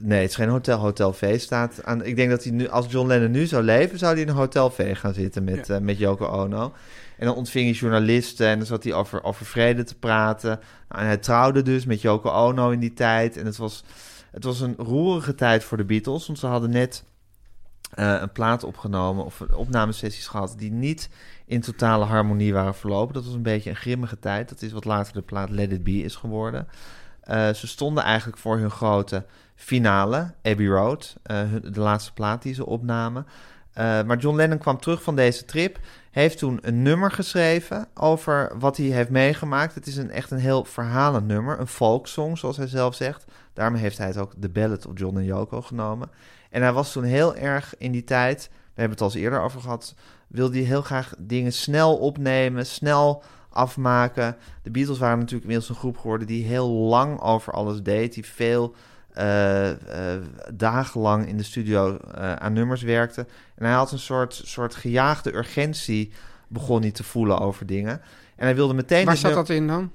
S2: Nee, het is geen hotel. Hotel V staat aan. Ik denk dat hij nu, als John Lennon nu zou leven, zou hij in een Hotel V gaan zitten met, eh, met Yoko Ono. En dan ontving hij journalisten en dan zat hij over, over vrede te praten. Nou, en hij trouwde dus met Yoko Ono in die tijd. En het was, het was een roerige tijd voor de Beatles, want ze hadden net eh, een plaat opgenomen of opnamesessies gehad die niet in totale harmonie waren verlopen. Dat was een beetje een grimmige tijd. Dat is wat later de plaat Let It Be is geworden. Eh, ze stonden eigenlijk voor hun grote finale, Abbey Road, eh, hun- de laatste plaat die ze opnamen. Eh, maar John Lennon kwam terug van deze trip, heeft toen een nummer geschreven over wat hij heeft meegemaakt. Het is een, echt een heel verhalend nummer, een folksong zoals hij zelf zegt. Daarom heeft hij het ook de Ballad of John en Yoko genomen. En hij was toen heel erg in die tijd, we hebben het al eens eerder over gehad, wilde hij heel graag dingen snel opnemen, snel afmaken. De Beatles waren natuurlijk inmiddels een groep geworden die heel lang over alles deed, die veel eh, eh, dagenlang in de studio eh, aan nummers werkte. En hij had een soort, soort gejaagde urgentie begon hij te voelen over dingen. En hij wilde meteen...
S3: Waar
S2: dit
S3: zat
S2: num-
S3: dat in dan?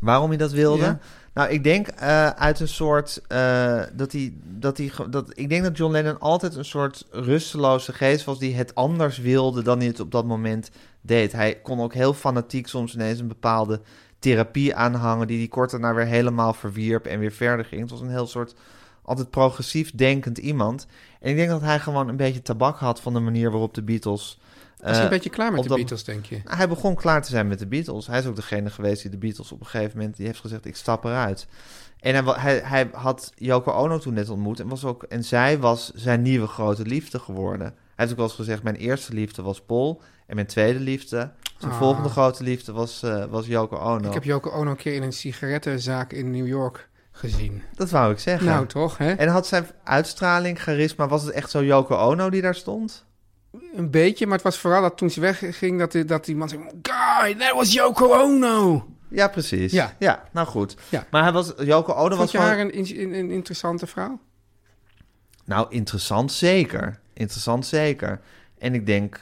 S2: waarom hij dat wilde.
S3: Ja.
S2: Nou, ik denk eh, uit een soort eh, dat hij dat hij ge- dat ik denk dat John Lennon altijd een soort rusteloze geest was die het anders wilde dan hij het op dat moment deed. Hij kon ook heel fanatiek soms ineens een bepaalde therapie aanhangen die hij kort daarna weer helemaal verwierp en weer verder ging. Het was een heel soort altijd progressief denkend iemand. En ik denk dat hij gewoon een beetje tabak had van de manier waarop de Beatles.
S3: Was hij
S2: eh,
S3: een beetje klaar met
S2: op
S3: de
S2: dat-
S3: Beatles, denk je?
S2: Nou, hij begon klaar te zijn met de Beatles. Hij is ook degene geweest die de Beatles op een gegeven moment die heeft gezegd: ik stap eruit. En hij, wa- hij, hij had Yoko Ono toen net ontmoet en, was ook, en zij was zijn nieuwe grote liefde geworden. Hij heeft ook wel eens gezegd: mijn eerste liefde was Paul en mijn tweede liefde, zijn
S3: Ah.
S2: volgende grote liefde was, eh, was Yoko Ono.
S3: Ik heb Joko Ono een keer in een sigarettenzaak in New York gezien.
S2: Dat wou ik zeggen.
S3: Nou, toch, hè?
S2: en had zijn uitstraling, charisma, was het echt zo Yoko Ono die daar stond?
S3: Een beetje, maar het was vooral dat toen ze wegging, dat, die- dat die man zei... Guy, that was Yoko Ono!
S2: Ja, precies.
S3: Ja.
S2: ja nou goed.
S3: Ja.
S2: Maar hij was, Yoko Ono was
S3: Vond je
S2: gewoon...
S3: haar een, in- een- een interessante vrouw?
S2: Nou, interessant zeker. Interessant zeker. En ik denk,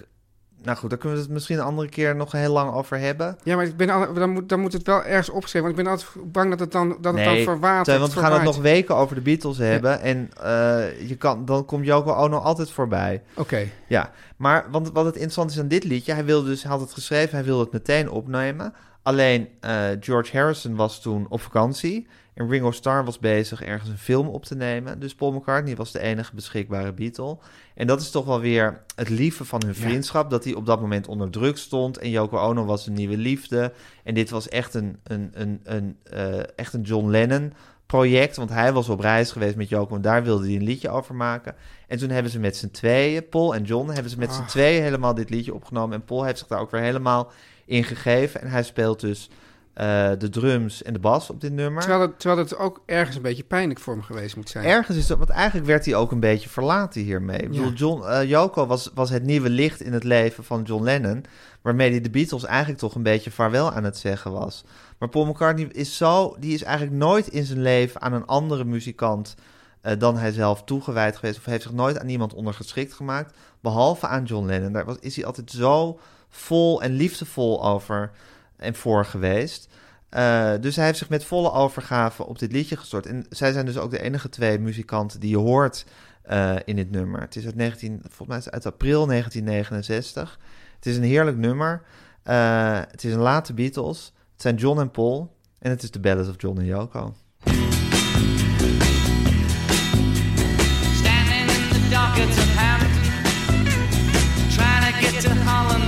S2: nou goed, daar kunnen we het misschien een andere keer nog heel lang over hebben.
S3: Ja, maar ik ben al, dan, moet, dan moet het wel ergens opgeschreven. Want ik ben altijd bang dat het dan, dat het dan verwatert.
S2: Teun, want we gaan het nog
S3: verwaait.
S2: weken over de Beatles hebben. En eh, je kan, dan komt Joko Ono altijd voorbij.
S3: Oké.
S2: Ja, maar want, wat het interessant is aan dit liedje... hij wilde dus, hij had het geschreven, hij wilde het meteen opnemen. Alleen eh, George Harrison was toen op vakantie... en Ringo Starr was bezig ergens een film op te nemen. Dus Paul McCartney was de enige beschikbare Beatle. En dat is toch wel weer het lieve van hun vriendschap... dat hij op dat moment onder druk stond... en Yoko Ono was een nieuwe liefde. En dit was echt een, een, een, een, eh, echt een John Lennon... Project, want hij was op reis geweest met Joko en daar wilde hij een liedje over maken. En toen hebben ze met z'n tweeën, Paul en John, hebben ze met z'n
S3: Ah.
S2: tweeën helemaal dit liedje opgenomen. En Paul heeft zich daar ook weer helemaal in gegeven. En hij speelt dus eh, de drums en de bas op dit nummer.
S3: Terwijl, het, terwijl het ook ergens een beetje pijnlijk voor hem geweest moet zijn.
S2: Ergens is dat, want eigenlijk werd hij ook een beetje verlaten hiermee. Ik
S3: Ja.
S2: bedoel, John, eh, Yoko was, was het nieuwe licht in het leven van John Lennon, waarmee hij de Beatles eigenlijk toch een beetje vaarwel aan het zeggen was. Maar Paul McCartney is zo, die is eigenlijk nooit in zijn leven aan een andere muzikant eh, dan hij zelf toegewijd geweest, of heeft zich nooit aan iemand ondergeschikt gemaakt, behalve aan John Lennon. Daar was, is hij altijd zo vol en liefdevol over en voor geweest. Eh, dus hij heeft zich met volle overgave op dit liedje gestort. En zij zijn dus ook de enige twee muzikanten die je hoort eh, in dit nummer. Het is uit 19, volgens mij is het uit april 1969. Het is een heerlijk nummer. Eh, het is een late Beatles. Het zijn John en Paul. En het is de Ballad of John en Yoko.
S6: Standing in the dockets of Hampton, trying to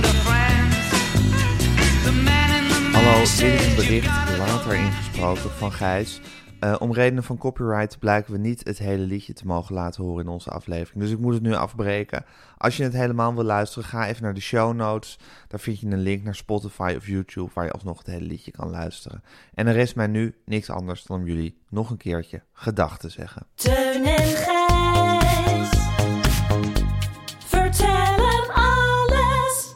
S2: Dit is een bericht later ingesproken van Gijs. Eh, om redenen van copyright blijken we niet het hele liedje te mogen laten horen in onze aflevering. Dus ik moet het nu afbreken. Als je het helemaal wil luisteren, ga even naar de show notes. Daar vind je een link naar Spotify of YouTube waar je alsnog het hele liedje kan luisteren. En er rest mij nu niks anders dan om jullie nog een keertje gedachten zeggen.
S5: Teun en Gijs. Vertel hem alles.